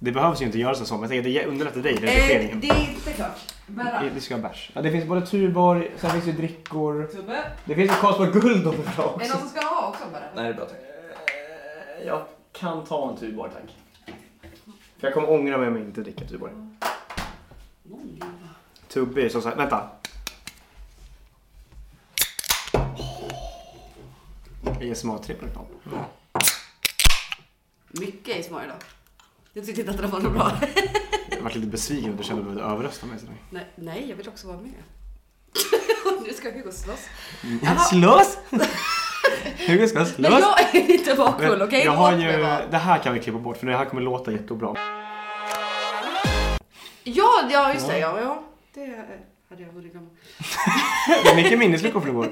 S2: Det behövs ju inte göra så, men jag tänker att det underlättar dig i
S4: Eh,
S2: redigeringen.
S4: det är inte klart. Bära.
S2: Det ska vara bärs. Ja, det finns både Tuborg, sen finns det ju drickor.
S4: Tubbe. Är
S2: Det finns ju Karlsborg Guld om du vill ha
S4: det
S2: också.
S4: någon som ska ha också bara?
S3: Nej, det är bra tack.
S2: Eh, Jag kan ta en Tuborg, tack. För jag kommer ångra mig om jag inte dricker Tuborg. Tubbe är så såhär, vänta. ASMR-tripp reklam.
S1: Mycket ASMR idag. Jag tyckte inte att det var något bra.
S2: Jag varit lite besviken att du kände att du behövde överrösta mig. sådär.
S1: Nej, nej, jag vill också vara med. (laughs) nu ska Hugo slåss. Jaha.
S2: (laughs) Slåss! Hugo ska
S1: Men
S2: slåss!
S1: jag är inte bakfull, okej?
S2: jag har
S1: Låt
S2: ju,
S1: mig vara.
S2: det här kan vi klippa bort för det här kommer låta jättebra.
S1: Ja, ja, just det. Ja, ja. Det hade jag hunnit glömma.
S2: Det är mycket minnesluckor
S1: (laughs)
S2: från igår.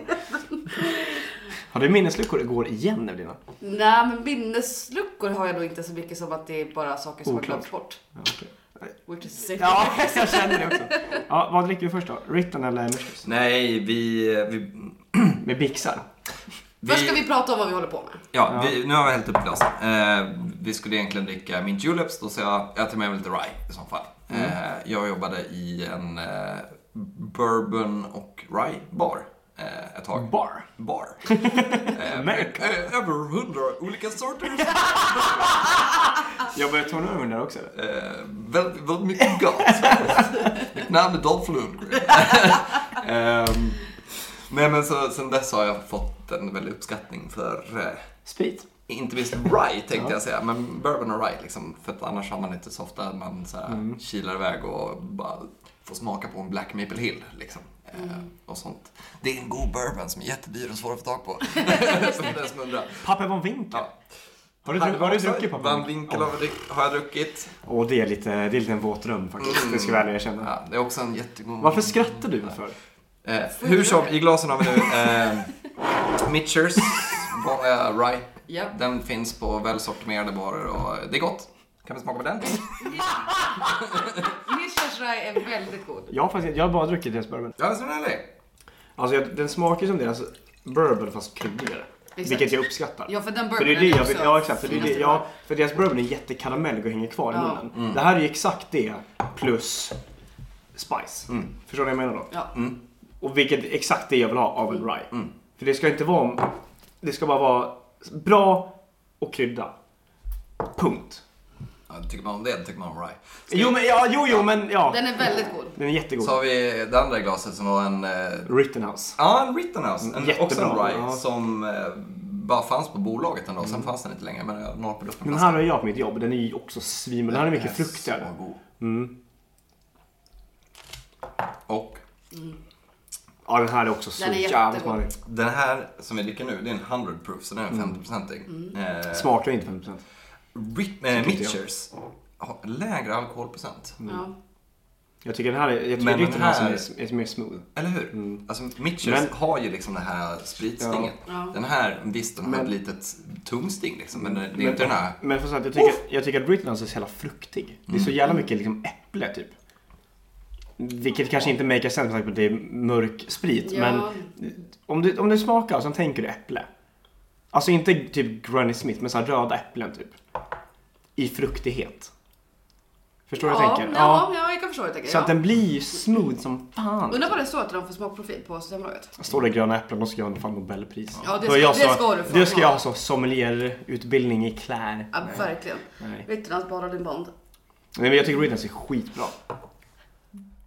S2: Har du minnesluckor igår igen Evelina?
S1: Nej, men minnesluckor har jag nog inte så mycket som att det är bara saker som har
S2: Oklart.
S1: glömts bort.
S2: Ja, okej.
S1: Which is safe.
S2: ja, (laughs) jag känner det också. Ja, vad dricker vi först då? Ritten eller Mushrooms?
S3: Nej, vi... vi,
S2: Med Bixar?
S3: vi
S1: Först ska vi prata om vad vi håller på med.
S3: Ja, Vi, nu har vi hällt upp glasen. Eh, vi skulle egentligen dricka mint juleps, då så jag, jag tar med mig lite rye i så fall. Eh, jag jobbade i en eh, bourbon och rye bar eh, ett tag.
S2: Bar?
S3: Bar. Eh,
S2: America.
S3: ö- över hundra olika sorter.
S2: Jag börjar tona över den där också eller?
S3: Eh, väldigt, väldigt mycket gott. Mitt namn är Dolph Lundgren. Ehm, nej men så, sen dess har jag fått en väldig uppskattning för eh,
S2: Sprit?
S3: inte minst rye tänkte jag säga, men bourbon och rye liksom. För att annars har man inte så ofta att man så här, kilar iväg och bara får smaka på en Black Maple Hill liksom. Eh, och sånt. Det är en god bourbon som är jättedyr och svår att få tag på. (laughs) För den som undrar.
S2: Pappa von Winkel?
S3: Ja.
S2: Har du, dru- har du druckit pappa
S3: Van Winkel har,
S2: Ja.
S3: jag druck- har jag druckit.
S2: Åh, det är lite, det är lite en våt dröm faktiskt. Det ska jag väl erkänna.
S3: Ja, det är också en jättegod...
S2: Varför skrattar du för?
S3: Eh, hur som, i glasen har vi nu eh, Mitchers vanliga rye.
S1: Ja.
S3: Den finns på välsortimerade barer och det är gott. Kan vi smaka på den?
S1: Mishas Rye är väldigt god.
S2: Jag har faktiskt jag har bara druckit deras bourbon.
S3: Ja, så är det.
S2: Alltså jag, den smakar som deras bourbon fast kryddigare.
S1: Exakt.
S2: Vilket jag uppskattar.
S1: Ja, för den
S2: För det är
S1: burgaren
S2: det jag
S1: också
S2: vill, ja exakt. För, det är det,
S1: finaste
S2: ja, för deras bourbon är jättekaramellig och hänger kvar i
S1: Ja.
S2: munnen. Det här är ju exakt det plus spice. Förstår ni vad jag menar då?
S1: Ja.
S2: Och vilket exakt det jag vill ha av en rye. För det ska inte vara, det ska bara vara bra och krydda. Punkt.
S3: Ja, tycker man om det, tycker man om rye.
S2: Jo men, ja, jo, jo men ja. Den
S1: Den är väldigt god.
S2: är, jättegod.
S3: Så har vi det andra glaset som var en... eh,
S2: Rittenhouse.
S3: Ja, en Rittenhouse. En,
S2: Jättebra.
S3: också en rye
S2: Ja. Mm.
S3: som eh, bara fanns på bolaget en dag. Sen fanns den inte längre, men jag norpade upp en
S2: Den
S3: flaska.
S2: här har jag på mitt jobb. Den är ju också svin... Den här är mycket fruktigare.
S3: Så god.
S2: Mm.
S3: Och
S2: Ja, den här är också så
S1: Den är
S2: jävla
S1: jättegod.
S2: smarrig.
S3: den här som vi dricker nu, det är en 100 proof, så den är
S2: Mm.
S3: 50-procentig. Eh,
S2: Smakar ju inte 50%.
S3: Rit- eh,
S2: jag. Mm.
S3: Mitchers har lägre alkoholprocent.
S1: Ja.
S2: Jag tycker den här är, jag tycker
S3: Men den
S2: den här
S3: här-
S2: som är, är mer smooth.
S3: Eller hur? Alltså Mitchers
S2: Mm. Men-
S3: har ju liksom det här spritstinget.
S1: Ja. Ja.
S3: Den här, visst den har
S2: Men- Mm.
S3: ett litet tungsting liksom, men det är
S2: Men-
S3: inte den här...
S2: Men för att jag tycker, jag tycker att Britlands är så jävla fruktig. Det är
S3: Mm.
S2: så jävla mycket liksom äpple typ. Vilket kanske inte make sense med tanke på att det är mörk sprit.
S1: Ja.
S2: Men om du, om du smakar så tänker du äpple. Alltså inte typ Granny Smith men så här röda äpplen typ. I fruktighet. Förstår du vad jag
S1: Ja,
S2: tänker?
S1: ja, ja, jag kan förstå vad du tänker.
S2: Så att
S1: ja.
S2: den blir ju smooth som fan.
S1: Undrar vad det står att de får smakprofil på Systembolaget.
S2: Står det gröna äpplen då ska jag fan Nobelpris.
S1: Ja, det
S2: Då är jag
S1: ska- det
S2: så-
S1: ska du fan
S2: Det ska jag
S1: ha.
S2: ha så sommelierutbildning i klär.
S1: Ja, verkligen.
S2: Nej.
S1: Ritterlands bara din band.
S2: Nej men jag tycker Riddance är skitbra.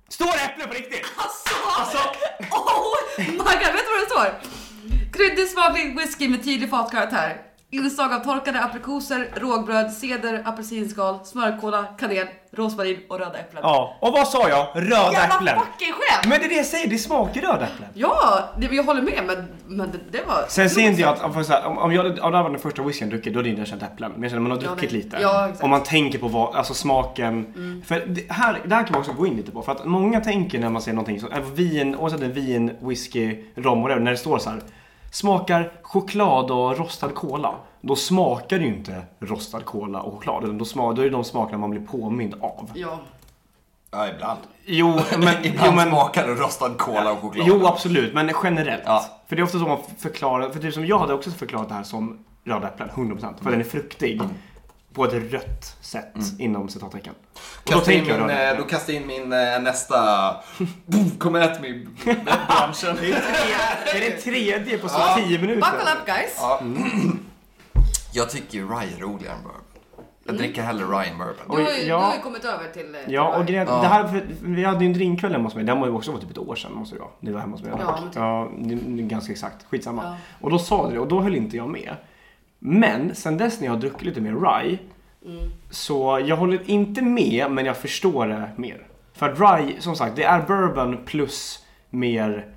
S2: Står det äpple på riktigt?
S1: Alltså! Oh my god, vet du vad det står? Kryddig smaklig whisky med tydlig fatkaraktär. Inslag av torkade aprikoser, rågbröd, ceder, apelsinskal, smörkola, kanel, rosmarin och röda äpplen.
S2: Ja, och vad sa jag? Röda äpplen.
S1: Jävla fucking skämt!
S2: Men det är det jag säger, det smakar röda äpplen.
S1: Ja, det, jag håller med men, men det, det var...
S2: Sen ser inte jag att, om- för så här, om, om, jag, om det här var den första whiskyn jag druckit då hade jag inte känt äpplen. Men jag känner att man har
S1: Ja,
S2: druckit
S1: det-
S2: lite.
S1: ja, exakt. Mm.
S2: om man tänker på vad, alltså smaken. För det här, det här kan man också gå in lite på. För att många tänker när man ser någonting, så, även vin, oavsett om det är vin, whisky, rom och det, när det står så här. Smakar choklad och rostad kola. Då smakar det ju inte rostad kola och choklad. utan Då, smak, då är det de smakerna man blir påmind av.
S1: Ja.
S3: Ja, ibland.
S2: Jo, (laughs) men... jo,
S3: ibland
S2: men
S3: smakar det rostad kola och choklad.
S2: Jo, absolut. Men generellt.
S3: Ja.
S2: För det är ofta så man förklarar. För typ som jag hade också förklarat det här som rödäpplen, 100%. För den är fruktig på ett rött sätt inom citattecken. Och
S3: Kasta in
S2: jag
S3: min,
S2: rödäpple.
S3: eh, då kastar jag in min eh, nästa...
S2: (laughs)
S3: Boom, kom och ät mig, branschen.
S2: Det är det tredje på så
S3: Ja.
S2: 10 minuter.
S1: Buckle up guys!
S3: Ja. Jag tycker ju Rye är roligare än bourbon. Jag
S2: Mm.
S3: dricker hellre Rye än bourbon.
S1: Du har ju,
S2: Oj,
S1: du
S2: ja.
S1: har ju kommit över till... eh, till
S2: Ja,
S1: Varg.
S2: och grejen,
S3: Ja.
S2: det här, för, vi hade ju en drinkkväll hemma hos mig. Den var ju också för typ ett år sedan måste det vara. Det var hemma hos mig.
S1: Ja, men typ.
S2: ja det, det, är ganska exakt. Skitsamma.
S1: Ja.
S2: Och då sa du det och då höll inte jag med. Men sen dess när jag har druckit lite mer rye.
S1: Mm.
S2: Så jag håller inte med men jag förstår det mer. För att rye, som sagt, det är bourbon plus mer...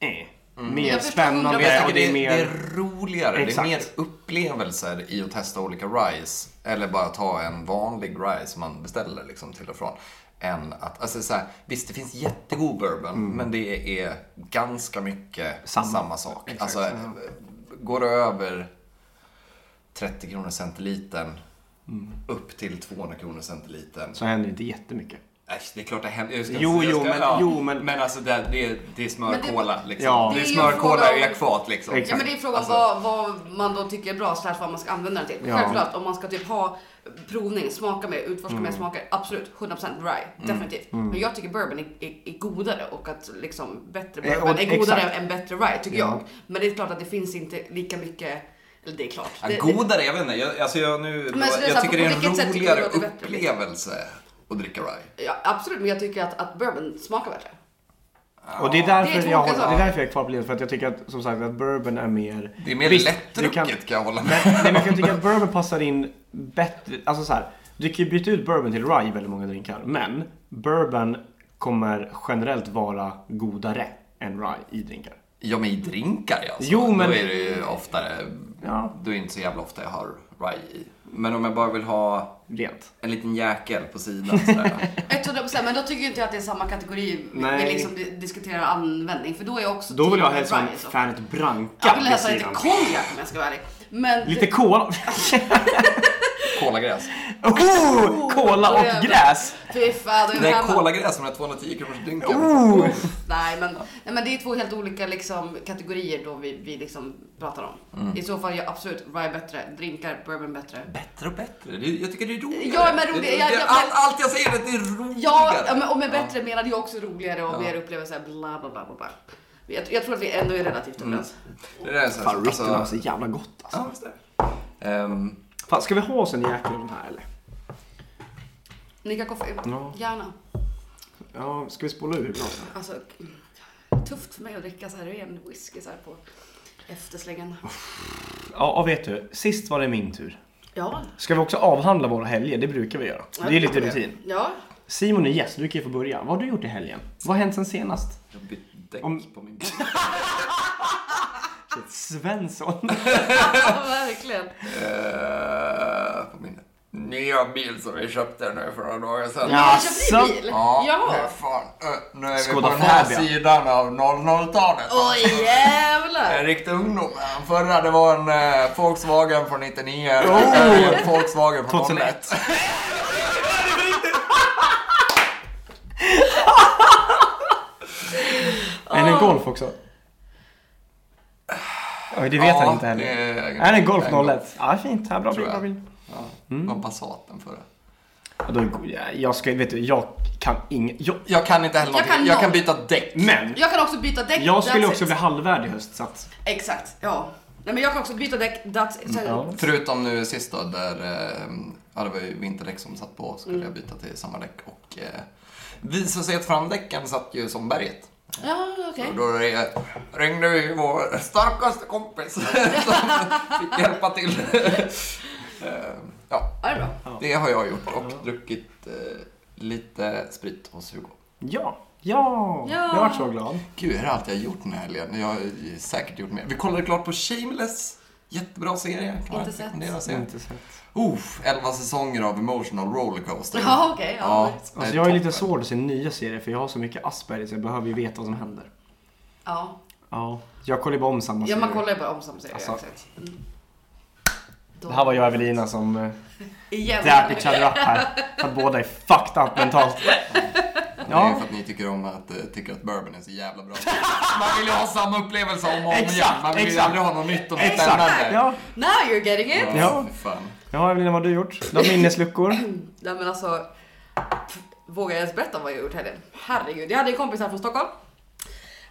S2: Eh, Mer
S1: Mm. Jag förstår
S2: spännande
S1: hundra
S2: och
S1: procent.
S3: Jag tycker
S2: det är mer...
S3: det är roligare.
S2: Exakt.
S3: Det är mer upplevelser i att testa olika rice. Eller bara ta en vanlig rice som man beställer liksom till och från. Än att, alltså så här, visst det finns jättegod bourbon, men det är ganska mycket samma,
S2: Mm. Samma.
S3: sak.
S2: Exakt,
S3: alltså, går det över 30 kronor centilitern
S2: Mm.
S3: upp till 200 kronor centilitern.
S2: Så händer inte jättemycket.
S3: Äsch, det är klart det händer. Jag ska,
S2: Jo,
S3: jag
S2: jo,
S3: ska,
S2: men- jo, men-
S3: Men alltså det, det, är- det är smörkola liksom.
S2: Ja.
S3: Det är
S1: Det är ju
S3: smörkola
S1: fråga
S3: i
S1: om-
S3: akvat liksom.
S2: Exakt.
S1: Ja men det är frågan
S3: Alltså-
S1: vad, vad man då tycker är bra slash vad man ska använda den till.
S2: Ja.
S1: Självklart om man ska typ ha provning, smaka mer, utforska
S2: Mm.
S1: mer smaker. Absolut, 100% rye. Definitivt. Men jag tycker bourbon är, är, är godare och att liksom bättre
S2: Eh,
S1: bourbon
S2: och-
S1: är godare
S2: exakt.
S1: än bättre rye tycker
S2: Ja.
S1: jag. Men det är klart att det finns inte lika mycket, eller det är klart.
S3: Ja,
S1: Det-
S3: godare, jag vet inte. Jag, alltså jag, nu,
S1: Men så det är så
S3: jag
S1: här,
S3: tycker
S1: på
S3: det är en
S1: vilket sätt tycker du
S3: roligare
S1: att det är bättre, liksom?
S3: upplevelse att dricka rye.
S1: det- ja, absolut, men jag tycker att, att bourbon smakar bättre.
S2: Och det är därför,
S1: två olika
S2: jag, håller- det är
S1: saker.
S2: därför jag är kvar på linjen. För att jag tycker att, som sagt, att bourbon är mer...
S3: Det är mer
S2: Visst, du
S3: lättdrucket
S2: kan-
S3: kan... jag hålla med
S2: Nej, nej men jag tycker att bourbon passar in bättre, alltså så här. Du kan ju byta ut bourbon till rye i väldigt många drinkar, men bourbon kommer generellt vara godare än rye i drinkar.
S3: Ja, men i drinkar alltså.
S2: Jo, men-
S3: Då är det ju oftare...
S2: Ja,
S3: Då är det inte så jävla ofta jag har rye i. Men om jag bara vill ha
S2: rent.
S3: en liten jäkel på sidan sådär.
S2: (laughs)
S1: 100% men då tycker jag inte jag att det är samma kategori
S2: Nej.
S1: vi liksom di- diskuterar användning. För då är jag också
S2: Då vill jag
S1: team
S2: helst ha en
S1: rye, så.
S2: Fanet Branca
S1: Jag vill
S2: vid
S1: läsa lite
S2: sidan.
S1: konjak om jag ska vara ärlig. Men typ,
S2: Lite kola.
S3: Kolagräs.
S2: (laughs) Oh, kola och gräs!
S1: Fy fan, då är vi
S3: Nej,
S1: hemma.
S3: kolagräs med den här 210 kronors drinken.
S2: Oh.
S1: Nej men, nej men det är två helt olika liksom, kategorier då vi, vi liksom pratar om. I så fall är absolut rye bättre, drinkar bourbon bättre.
S3: Bättre och bättre. Det- Jag tycker det är roligare.
S1: Ja, men rolig-
S3: Det-
S1: jag-
S3: det-
S1: jag-
S3: allt- Allt jag säger är att det är roligare.
S1: Ja, ja, men, och med bättre menade jag också roligare och mer upplevelser, bla bla bla bla bla. Jag, jag tror att vi ändå är relativt överens.
S3: Det där är så här,
S2: Fan,
S3: alltså-
S2: Ritten var så jävla gott alltså.
S3: Ja, visst är det. Ehm,
S2: Fan, ska vi ha oss en jäkel av den här eller?
S1: Nicka kaffe?
S2: Ja.
S1: Gärna.
S2: Ja, ska vi spola ur glasen?
S1: Alltså, tufft för mig att dricka så här ren whisky så här på efterslängen.
S2: Ja, och vet du. Sist var det min tur.
S1: Ja.
S2: Ska vi också avhandla våra helger? Det brukar vi göra. Det är lite rutin.
S1: Ja.
S2: Simon är gäst, du kan ju få börja. Vad har du gjort i helgen? Vad har hänt sen senast?
S3: Jag bytte däck
S2: Om-
S3: på min
S2: Svensson.
S1: ja, verkligen.
S3: Eh, på min nya bil som vi köpte nu för några dagar sedan.
S2: Ja.
S1: Jag köpte
S2: Jaså?
S1: bil.
S3: hur
S1: ja.
S3: fan. Eh, nu är vi
S2: Skoda
S3: på den här
S2: Fabia.
S3: sidan av 00-talet.
S1: Oj jävlar.
S3: En riktig ungdom. Den förra det var en eh, Volkswagen från 99.
S2: Oh!
S3: Eh, En Volkswagen från
S2: 2001. (laughs)
S3: 01.
S2: Är det en golf också? Oj, det vet han inte heller. Är det en golf 01? Ja, fint. Ja, bra bil,
S3: Tror
S2: bra
S3: jag.
S2: bil.
S3: Ja,
S2: Mm.
S3: det var Passat den förra.
S2: Ja, då- ja, Jag ska, vet du, jag kan inget. Jag,
S3: Jag kan inte heller
S1: Jag
S3: någonting.
S1: kan
S3: jag kan
S1: noll.
S3: byta däck.
S2: men,
S1: Jag kan också byta däck.
S2: jag skulle
S1: that's
S2: också
S1: it.
S2: bli halvvärd i höst så att...
S1: Exakt, ja. Nej men jag kan också byta däck, that's it. Sen-
S2: Ja.
S3: Förutom nu sist då, där eh, ja, det var ju vinterdäck som satt på, skulle
S1: Mm.
S3: jag byta till samma däck. Och eh, visade sig att framdäcken satt ju som berget.
S1: Ja, okej.
S3: Och då re- ringde vi vår
S1: (laughs)
S3: starkaste kompis som fick hjälpa till. (laughs) Eh, ja,
S1: Ja, det är bra.
S3: det har jag gjort och druckit eh, lite sprit hos Hugo.
S2: Ja, ja,
S1: Ja.
S2: jag vart så glad.
S3: Gud, hur har allt jag gjort den här helgen? Jag har ju säkert gjort mer. Vi kollade klart på Shameless. Jättebra serie. Kan man
S1: Inte sett.
S3: rekommendera att se.
S2: Inte sett.
S3: Oof, 11 säsonger av emotional rollercoaster.
S1: Ja, okej, ja.
S3: det
S2: Alltså, jag är lite
S3: toppen.
S2: svårt att se nya serier för jag har så mycket Asperger så jag behöver ju veta vad som händer.
S1: Ja.
S2: Ja, jag kollar ju bara om samma
S1: ja, man
S2: serie.
S1: kollar ju bara om samma serie.
S2: Alltså.
S1: exakt. Mm. Då-
S2: Det här var jag och Evelina som eh,
S1: Igen.
S2: dap each other up här. För att båda är fucked up mentalt. Ja,
S3: Det är
S2: Ja.
S3: ju för att ni tycker om att, eh, tycker att bourbon är så jävla bra. Man vill ju ha samma upplevelse om och om igen.
S2: Exakt,
S3: Man vill ju
S2: exakt.
S3: aldrig ha något nytt och något
S2: Exakt!
S3: spännande.
S2: Ja,
S1: Now you're getting it!
S2: Ja.
S3: fy fan.
S2: ja Evelina, vad har du gjort? Du har minnesluckor.
S1: Nej men alltså, pff, vågar jag ens berätta vad jag gjort i helgen? Herregud, jag hade en kompis här från Stockholm.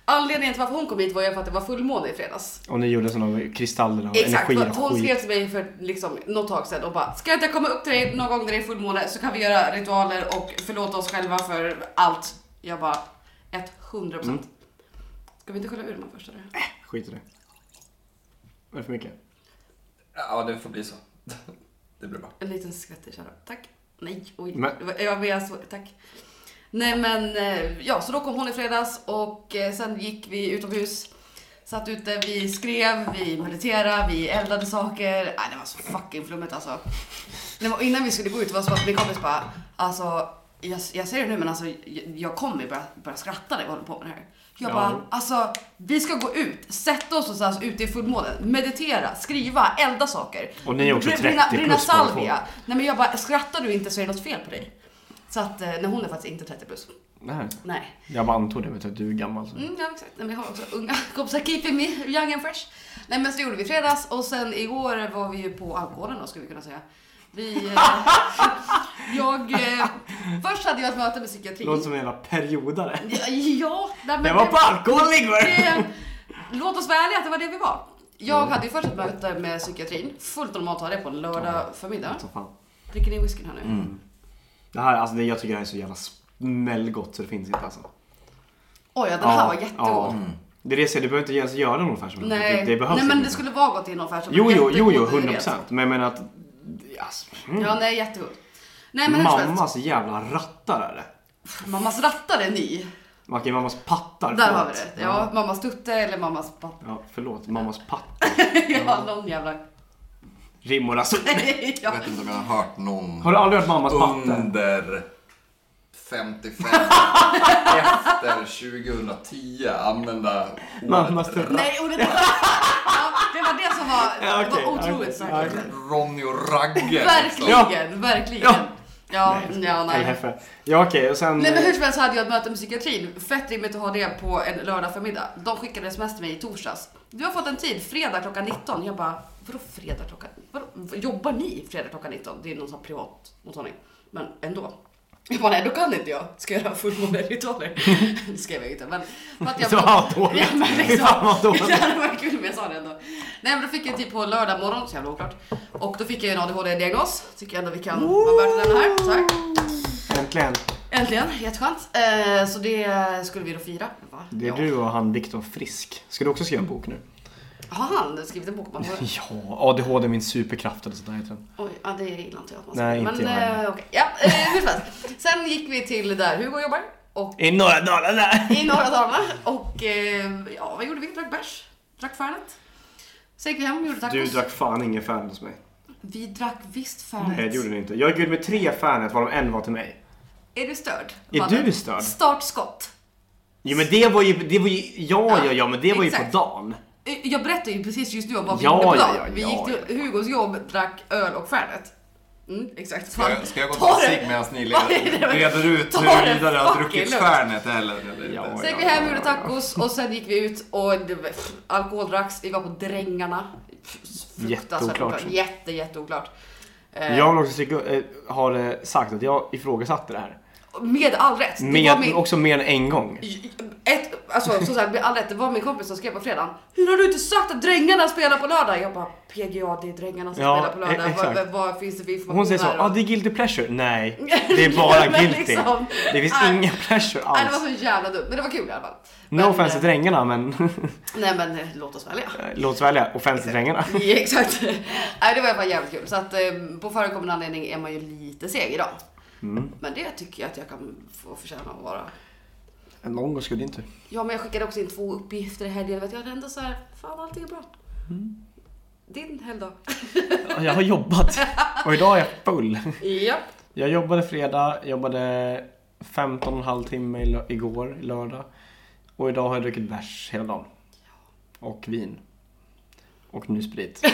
S1: Anledningen till varför hon kom hit var ju för att det var fullmåne i fredags.
S2: Och ni gjorde sådana av kristaller och
S1: Exakt,
S2: energi
S1: för att
S2: och
S1: hon skrev
S2: skit.
S1: till mig för liksom, något tag sedan och bara Ska jag inte komma upp till dig någon gång när det är fullmåne så kan vi göra ritualer och förlåta oss själva för allt. Jag bara 100%
S2: Mm.
S1: Ska vi inte kolla urman först eller?
S2: Skit i det. Var det för mycket?
S3: Ja, det får bli så. (laughs) Det blir bra.
S1: En liten skvätt i kärran. Tack. Nej, oj.
S2: Men-
S1: Det var- Jag var så, tack. Nej men eh, ja, så då kom hon i fredags och eh, sen gick vi utomhus. Satt ute, vi skrev, vi mediterade, vi eldade saker. Nej, det var så fucking flummigt alltså. Nej, men innan vi skulle gå ut var det som att min kompis bara, alltså jag, jag säger det nu men alltså jag, jag kommer börja, börja skratta när vi håller på med det här. Jag
S2: Ja.
S1: bara, alltså vi ska gå ut, sätta oss och så här, ute i fullmånen, meditera, skriva, elda saker.
S2: Och ni är också
S1: Br-
S2: 30
S1: brinna,
S2: plus
S1: brinna
S2: på alla
S1: salvia. Nej men jag bara, skrattar du inte så är det något fel på dig. Så att, eh, nej hon är faktiskt inte 30 plus.
S2: Nej.
S1: Nej.
S2: Jag bara antog det med att du är gammal. Så.
S1: Mm, ja, exakt. Nej, men jag har också unga (laughs) kompisar, keeping me young and fresh. Nej men så gjorde vi i fredags och sen igår var vi ju på alkoholen då skulle vi kunna säga. Vi...
S2: (laughs)
S1: Eh, jag... Eh, först hade jag ett möte med psykiatrin.
S2: Låter som en jävla periodare.
S1: Ja, ja nej, men
S2: Jag var på alkohol igår!
S1: det, låt oss vara ärliga att det var det vi var.
S2: Mm.
S1: Jag hade ju först ett möte med psykiatrin, fullt normalt att ha det på en lördag förmiddag.
S2: Så Alltså, fan.
S1: Dricker ni whiskyn här nu?
S2: Mm. Det här, alltså det, jag tycker det här är så jävla smällgott så det finns inte alltså. Mm.
S1: Oj, ja, den här var jättegod.
S2: Det är det jag säger, du behöver inte ens göra någon färs.
S1: Nej,
S2: Det, det behövs
S1: nej men
S2: inte.
S1: det skulle vara gott i någon färs.
S2: Jo, jo, jo, jo,
S1: Jättegod
S2: 100
S1: ingrediens.
S2: procent. Men jag menar att... Alltså, mm.
S1: Ja, nej, jättegod. Nej, men hur som helst.
S2: Mammas jävla rattar är det.
S1: Mammas rattar är ny.
S2: Okej, mammas pattar.
S1: Där
S2: förlåt.
S1: har vi det. Ja, mammas tutte eller mammas pappa.
S2: ja. Förlåt, mammas pattar.
S1: (laughs) Ja, någon jävla...
S2: Rim och rason.
S1: ja.
S3: Jag vet inte om jag har hört någon
S2: alltså. Har du aldrig hört mammas pattar?
S3: under
S2: (laughs)
S3: 55 efter 2010 använda
S2: Mammas
S3: ordet
S2: tuttar.
S1: Nej, och det, (laughs) ja, det var det som var,
S2: Ja, okej,
S1: det var otroligt
S2: okej,
S1: starkt.
S2: okej.
S3: Ronny och Ragge. liksom.
S1: Verkligen, verkligen.
S2: Ja.
S1: Ja, ja nej.
S2: Eller Heffe. Ja okej, och sen...
S1: Nej men hur som helst hade jag ett möte med psykiatrin. Fett rimligt att ha det på en lördag förmiddag. De skickade sms till mig i torsdags. Du har fått en tid, fredag klockan 19. Jag bara, vadå fredag klockan? Vadå, jobbar ni fredag klockan 19? Det är någon sån här privat mottagning. Men ändå. Jag bara, nej då kan inte jag. Ska jag göra (laughs) fullmåneritualer? det skrev jag ju inte. Men, för
S2: (laughs)
S1: att jag
S2: Ja, dåligt.
S1: Ja, men
S2: Fy
S1: liksom,
S2: fan, vad
S1: (laughs)
S2: dåligt.
S1: det hade varit kul men jag sa det ändå. Nej men då fick jag typ på lördag morgon, så jävla oklart. Och då fick jag en ADHD-diagnos. Tycker jag ändå vi kan vara värda den här. Tack.
S2: eh, Äntligen.
S1: Äntligen, jätteskönt. Eh, så det skulle vi då fira. Va?
S2: Det är
S1: ja.
S2: du och han Viktor Frisk. Ska du också skriva en bok nu?
S1: Har han skrivit en bok om
S2: (laughs)
S1: det?
S2: Ja, ADHD är min superkraft eller sånt där heter den.
S1: Oj, ja, det gillar inte jag att man
S2: Nej,
S1: säger.
S2: inte jag
S1: Men
S2: heller.
S1: eh, okej. Ja, eh, hur som helst. Sen gick vi till där Hugo jobbar. Och
S2: I norra Dalarna!
S1: i norra Dalarna. Och eh, ja, vad gjorde vi? Drack bärs. Drack Fernet. Sen gick vi hem och gjorde tacos.
S2: Du drack fan ingen fan hos mig.
S1: Vi drack visst Fernet.
S2: Nej, det gjorde du inte. Jag bjöd med tre fanet varav en var till mig.
S1: Är du störd?
S2: Är
S1: Mannen?
S2: du störd?
S1: Startskott.
S2: Jo men det var ju, det var ju, ja ja ja men det var ju på
S1: Exakt.
S2: dagen.
S1: Eh, Jag berättade ju precis just nu om vad vi
S2: Ja,
S1: gjorde på
S2: ja,
S1: dagen.
S2: ja,
S1: vi
S2: ja,
S1: gick till Hugos jobb, drack öl och Fernet. Mm, exakt.
S3: Ska jag, ska jag gå
S1: Ta
S3: till
S1: det.
S3: Sig medan ni
S1: Nej, det
S3: leder,
S1: var-
S3: reder ut
S1: Ta
S3: hur
S1: det
S3: vidare jag har
S1: fucking
S3: druckit
S1: lugnt.
S3: Fernet eller, eller inte?
S2: Ja.
S1: Sen gick vi hem, gjorde tacos och sen gick vi ut och det var, pff, alkohol dracks. Vi var på Drängarna. Fruktansvärt
S2: Jätteoklart.
S1: oklart. Jätte, jätteoklart. Eh,
S2: Jag vill också sticka- eh, har eh, sagt att jag ifrågasatte det här.
S1: Med all rätt. Det var
S2: Med,
S1: min,
S2: Också mer än en gång.
S1: ett, alltså, som sagt, med all rätt. Det var min kompis som skrev på fredagen. Hur har du inte sagt att Drängarna spelar på lördag? Jag bara PGA, det är Drängarna som
S2: Ja,
S1: spelar på lördag.
S2: e- exakt.
S1: Vad, vad, vad finns det för information
S2: Hon säger så,
S1: här
S2: ah,
S1: då?"
S2: det är guilty pleasure. Nej, det är bara
S1: (laughs) Men
S2: guilty.
S1: liksom,
S2: Det finns
S1: nej.
S2: ingen pleasure
S1: Nej, det var
S2: alls.
S1: så jävla dumt. Men det var kul i alla fall.
S2: No
S1: Men,
S2: offense
S1: eh,
S2: till drängarna men (laughs)
S1: Nej men eh, låt oss välja.
S2: låt oss välja offense till drängarna.
S1: (laughs) Ja, exakt. Nej, det var i alla fall jävligt kul. Så att eh, på förekommande anledning är man ju lite seg idag.
S2: Mm.
S1: Men det tycker jag att jag kan få förtjäna att vara.
S2: Någon gång skulle det inte.
S1: Ja, men jag skickade också in två uppgifter i helgen. Vet jag hade ändå så här, fan allting är bra.
S2: Mm.
S1: Din helgdag.
S2: Jag har jobbat och idag är jag full.
S1: Japp.
S2: Jag jobbade fredag, jobbade 15 och en halv timme i lö- igår, i lördag. Och idag har jag druckit bärs hela dagen. Och vin. Och nu sprit.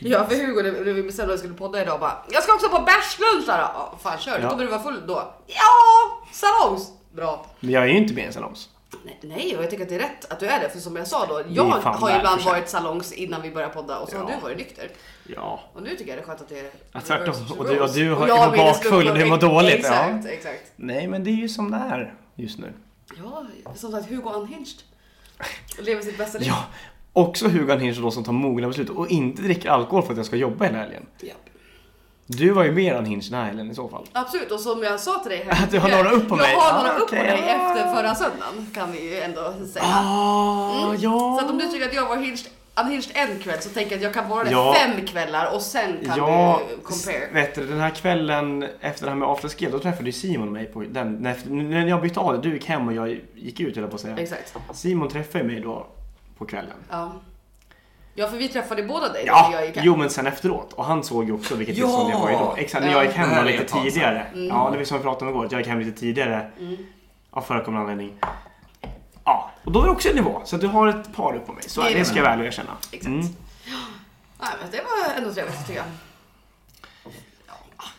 S1: Ja för Hugo när när vi bestämde att vi skulle podda idag bara Jag ska också på bärslunch där. Ja, fan kör,
S2: Ja.
S1: kommer du vara full då? Ja! Salongs! Bra.
S2: Men jag är ju inte med i en salongs.
S1: Nej, Nej och jag tycker att det är rätt att du är det för som jag sa då. Jag
S2: är fan
S1: har ju ibland
S2: välförtjänt.
S1: varit salongs innan vi började podda och så har
S2: Ja.
S1: du varit nykter.
S2: Ja.
S1: Och nu tycker jag det är skönt att det är
S2: Ja, tvärtom.
S1: reverse
S2: Och du- och du
S1: roles.
S2: har-
S1: jag
S2: var
S1: vill att det ska
S2: bakfull och det
S1: uppnå-
S2: var dåligt, ja.
S1: Exakt, exakt.
S2: Nej, men det är ju som det är just nu.
S1: Ja, som sagt Hugo Unhinged. Lever sitt bästa liv.
S2: Ja, också Hugo Hinch då som tar mogna beslut och inte dricker alkohol för att jag ska jobba hela helgen.
S1: Japp.
S2: Du var ju mer Hinch den här helgen i så fall.
S1: Absolut, och som jag sa till dig
S2: Att (laughs) du har några upp på
S1: jag
S2: mig.
S1: Jag har
S2: Ah,
S1: några upp på
S2: okej.
S1: dig efter förra söndagen kan vi ju ändå säga.
S2: Ah, ja.
S1: Mm. Så att om du tycker att jag var hinged, unhinged en kväll så tänker jag att jag kan vara det
S2: Ja.
S1: fem kvällar och sen kan
S2: Ja,
S1: du compare.
S2: s- vet du, den här kvällen efter det här med afterskill, då träffade ju Simon mig på den, när, när jag bytte av det, du gick hem och jag gick ut höll jag på att säga.
S1: Exakt.
S2: Simon träffade ju mig då på kvällen.
S1: Ja. ja, för vi träffade båda dig när
S2: Ja,
S1: jag gick hem.
S2: jo men sen efteråt. Och han såg ju också vilket
S3: Ja!
S2: tillstånd jag var i då. Exakt, när jag gick hem
S3: Det här
S2: då
S3: är
S2: lite
S3: ett tag sedan.
S2: tidigare.
S1: Mm.
S2: Ja, det var som vi pratade om igår, att jag gick hem lite tidigare. Av förekommande anledning. Ja, och då var det också en nivå. Så att du har ett par upp på mig. Så
S1: Det är
S2: det,
S1: det.
S2: ska jag väl erkänna.
S1: Exakt.
S2: Mm.
S1: Nej, men det var ändå trevligt tycker jag.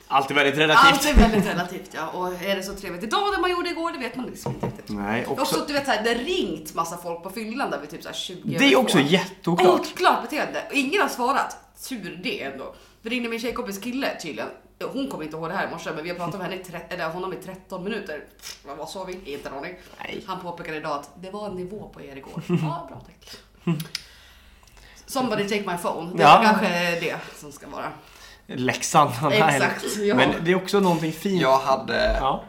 S2: Allt är väldigt relativt.
S1: Allt är väldigt relativt ja. Och är det så trevligt idag det man gjorde igår, det vet man liksom inte riktigt.
S2: Nej,
S1: Också,
S2: också,
S1: att du vet såhär, det har ringt massa folk på fyllan där vid typ såhär 20
S2: det är
S1: över
S2: också
S1: två.
S2: jätteoklart.
S1: Oklart beteende. Och Ingen har svarat. Tur det ändå. Det ringde min tjejkompis kille tydligen. Hon kommer inte ihåg det här i morse men vi har pratat med henne i tre- eller honom i 13 minuter. Men Vad sa vi? Inte en aning.
S2: Nej.
S1: Han påpekade idag att det var en nivå på er
S2: (laughs)
S1: igår. Ja, bra tack. Somebody take my phone. Det är
S2: Ja.
S1: kanske det som ska vara.
S2: Leksand. den här
S1: Exakt,
S2: helgen.
S1: ja.
S2: Men det är också någonting fint.
S3: Jag hade
S2: Ja.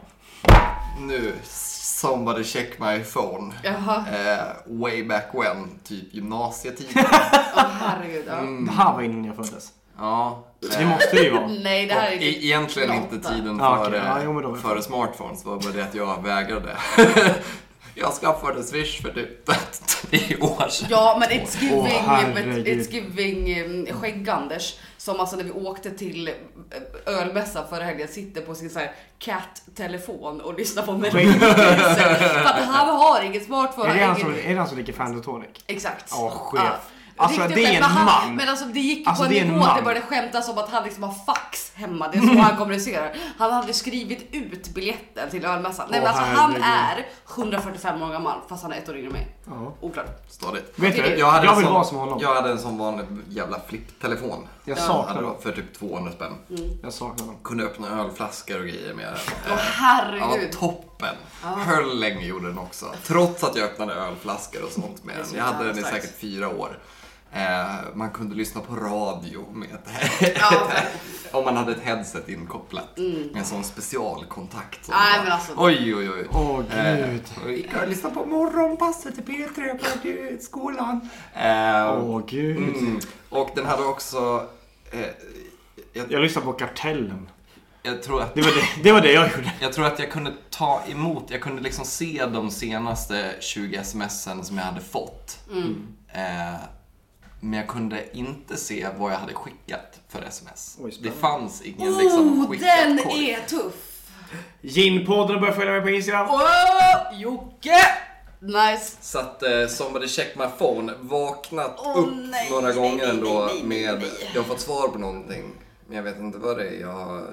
S3: nu somebody check my phone.
S1: Jaha,
S3: Eh, way back when, typ gymnasietiden.
S1: åh herregud. Ja.
S2: Det här var innan jag föddes.
S3: ja. eh,
S2: Det måste det ju vara.
S1: Nej, det här är
S3: Och e- egentligen inte tiden
S2: Ja,
S3: före,
S2: okej. Ja, jo, men då är det
S3: före smartphones, det var bara det att jag vägrade. (laughs) jag skaffade Swish för typ (laughs) tre år sedan.
S1: Ja men it's giving,
S2: Åh, herregud.
S1: it's giving um, skägg-Anders som alltså när vi åkte till eh, ölmässan förra helgen sitter på sin så här cat-telefon och lyssnar på melodier. För att han har ingen smartphone.
S2: Är det,
S1: han
S2: han
S1: har
S2: som,
S1: ingen-
S2: är det han som dricker Fanta Tonic?
S1: Exakt.
S2: Ja, chef.
S1: Ja.
S2: Alltså,
S1: Riktigt chef.
S2: det är en
S1: Men han-
S2: man.
S1: Men alltså det gick ju
S2: Alltså,
S1: på
S2: det är
S1: en
S2: en
S1: nivå att det
S2: man.
S1: började skämtas om att han liksom har fax hemma. Det är så han kommunicerar. Han hade skrivit ut biljetten till ölmässan. Nej men
S2: Åh,
S1: alltså han är
S2: herregud.
S1: 145 år gammal fast han är ett år yngre än mig.
S2: Ja.
S1: Oklart.
S3: Stadigt.
S2: Vet
S1: Det är
S2: du,
S1: det.
S2: jag,
S3: hade en
S2: vill
S3: sån-
S2: vara som honom. Jag,
S3: Jag hade en sån vanlig jävla flipptelefon.
S2: saknar honom.
S3: Hade för typ 200 spänn.
S2: Jag saknar honom.
S3: Kunde öppna ölflaskor och grejer med den.
S1: Åh
S3: Ja,
S1: herregud.
S3: toppen. Höll länge gjorde den också. Trots att jag öppnade ölflaskor och sånt med
S1: Det är
S3: den.
S1: så
S3: Jag hade den i
S1: jävla
S3: säkert fyra år. Eh, man kunde lyssna på radio med
S1: Ja,
S3: (laughs) om man hade ett headset inkopplat. Med en sån specialkontakt. Som
S1: Mm. Nej,
S3: bara-
S1: men alltså-
S3: Oj, oj, oj.
S2: Åh, gud.
S3: Eh, gick jag lyssnade på morgonpasset i P3 på eh, skolan. Eh,
S2: Åh gud.
S3: mm. Och den hade också... Eh, jag,
S2: Jag lyssnar på Kartellen.
S3: jag tror att
S2: Det var det, det, var det jag gjorde.
S3: jag tror att jag kunde ta emot, jag kunde liksom se de senaste 20 smsen som jag hade fått.
S1: Mm.
S3: Eh, men jag kunde inte se vad jag hade skickat för sms.
S2: Oj,
S3: det
S2: spännande.
S3: fanns ingen liksom
S1: Oh,
S3: skickad
S1: den
S3: korg.
S1: är tuff!
S2: Ginpodden och börjar följa mig på Instagram.
S1: Åh, Jocke! Nice.
S3: Så att eh, somebody check my phone, vaknat
S1: Åh,
S3: upp
S1: nej,
S3: några
S1: nej,
S3: gånger
S1: nej,
S3: ändå
S1: nej, nej,
S3: med,
S1: nej.
S3: jag har fått svar på någonting. Men jag vet inte vad det är. Jag har,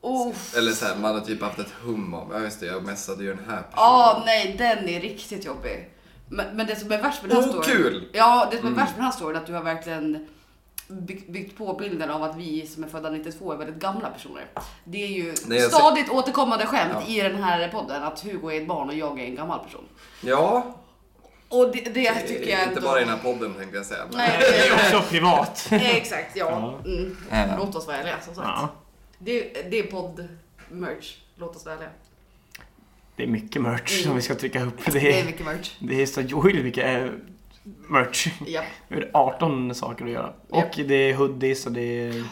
S1: Oh.
S3: eller såhär, man har typ haft ett hum om, ja just det, jag messade ju den här personen.
S1: Ja, nej, den är riktigt jobbig. Men, men det som är värst med den här
S3: Oh,
S1: storyn...
S3: kul!
S1: Ja, det som är
S3: Mm.
S1: värst med den här storyn är att du har verkligen byggt, byggt på bilden av att vi som är födda 92 är väldigt gamla personer. Det är ju
S3: Nej, jag ser-
S1: stadigt återkommande skämt
S3: Ja.
S1: i den här podden att Hugo är ett barn och jag är en gammal person.
S3: Ja,
S1: Och det, det tycker jag
S3: inte
S1: ändå...
S3: bara i den här podden tänkte jag säga. men-
S1: Nej,
S2: Det
S3: (laughs)
S2: är också privat.
S1: Exakt, ja. Mm.
S3: Ja.
S1: Låt oss vara ärliga som sagt.
S2: Ja,
S1: Det, det är podd-merch. Låt oss vara ärliga.
S2: det är mycket merch som vi ska trycka upp.
S1: Det
S2: Det (laughs)
S1: är
S2: är,
S1: mycket merch.
S2: det är så ohyggligt mycket eh, merch.
S1: Ja.
S2: Vi har 18 saker att göra. Och det är hoodies och det är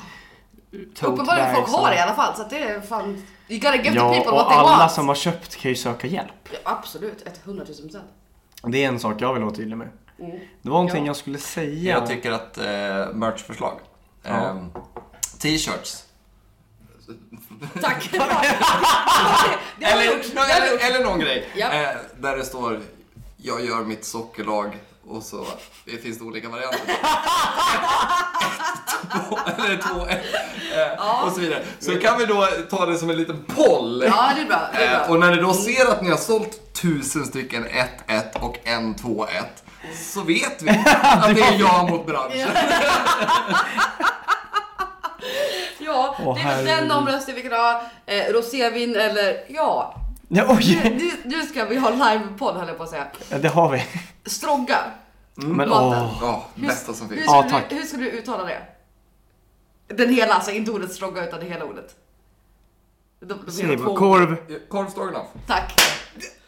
S2: tote
S1: Uppenbarligen folk
S2: bags och-
S1: har det i alla fall så att det är fan... You gotta give the
S2: Ja,
S1: people what
S2: och
S1: they
S2: alla
S1: want.
S2: som har köpt kan ju söka hjälp.
S1: Ja, absolut, ett 100 000
S3: (laughs)
S1: procent.
S2: Det är en sak jag vill vara tydlig med.
S1: Mm.
S2: Det var någonting
S1: Ja.
S2: jag skulle säga.
S3: Jag tycker att eh, merchförslag.
S2: Ja.
S3: Ehm, T-shirts.
S1: (laughs) Tack! det har
S3: Eller,
S1: jag gjort. Det har jag
S3: eller,
S1: gjort.
S3: eller någon grej.
S1: Ja.
S3: Eh, där det står Jag gör mitt sockerlag och så det finns det
S1: (laughs)
S3: olika varianter. Ett, två, eller två, ett, eh,
S1: Ja.
S3: och så vidare. Så kan vi då ta det som en liten poll.
S1: Ja, det är bra. Det är
S3: Eh,
S1: bra.
S3: och när ni då ser att ni har sålt tusen stycken 1-1 och en 2-1 så
S1: (laughs)
S3: vet vi att det är jag mot branschen.
S1: Ja,
S2: Åh,
S1: det är
S2: herregud.
S1: den omröstning vi kan ha. Eh, rosévin eller ja. Nu,
S2: Ja, oj!
S1: nu, nu ska vi ha livepodd höll jag på att säga.
S2: Ja, Det har vi.
S1: Strogga.
S2: Men
S1: Mm. Maten.
S2: åh.
S3: Ja, bästa som
S1: hur,
S3: finns.
S2: Ja,
S1: skulle
S2: tack.
S1: du, hur skulle du uttala det? Den hela, alltså inte ordet strogga utan det hela ordet. De, de
S2: Säg
S1: hela två-
S2: bara, korv.
S3: Korv stroganoff.
S1: Tack.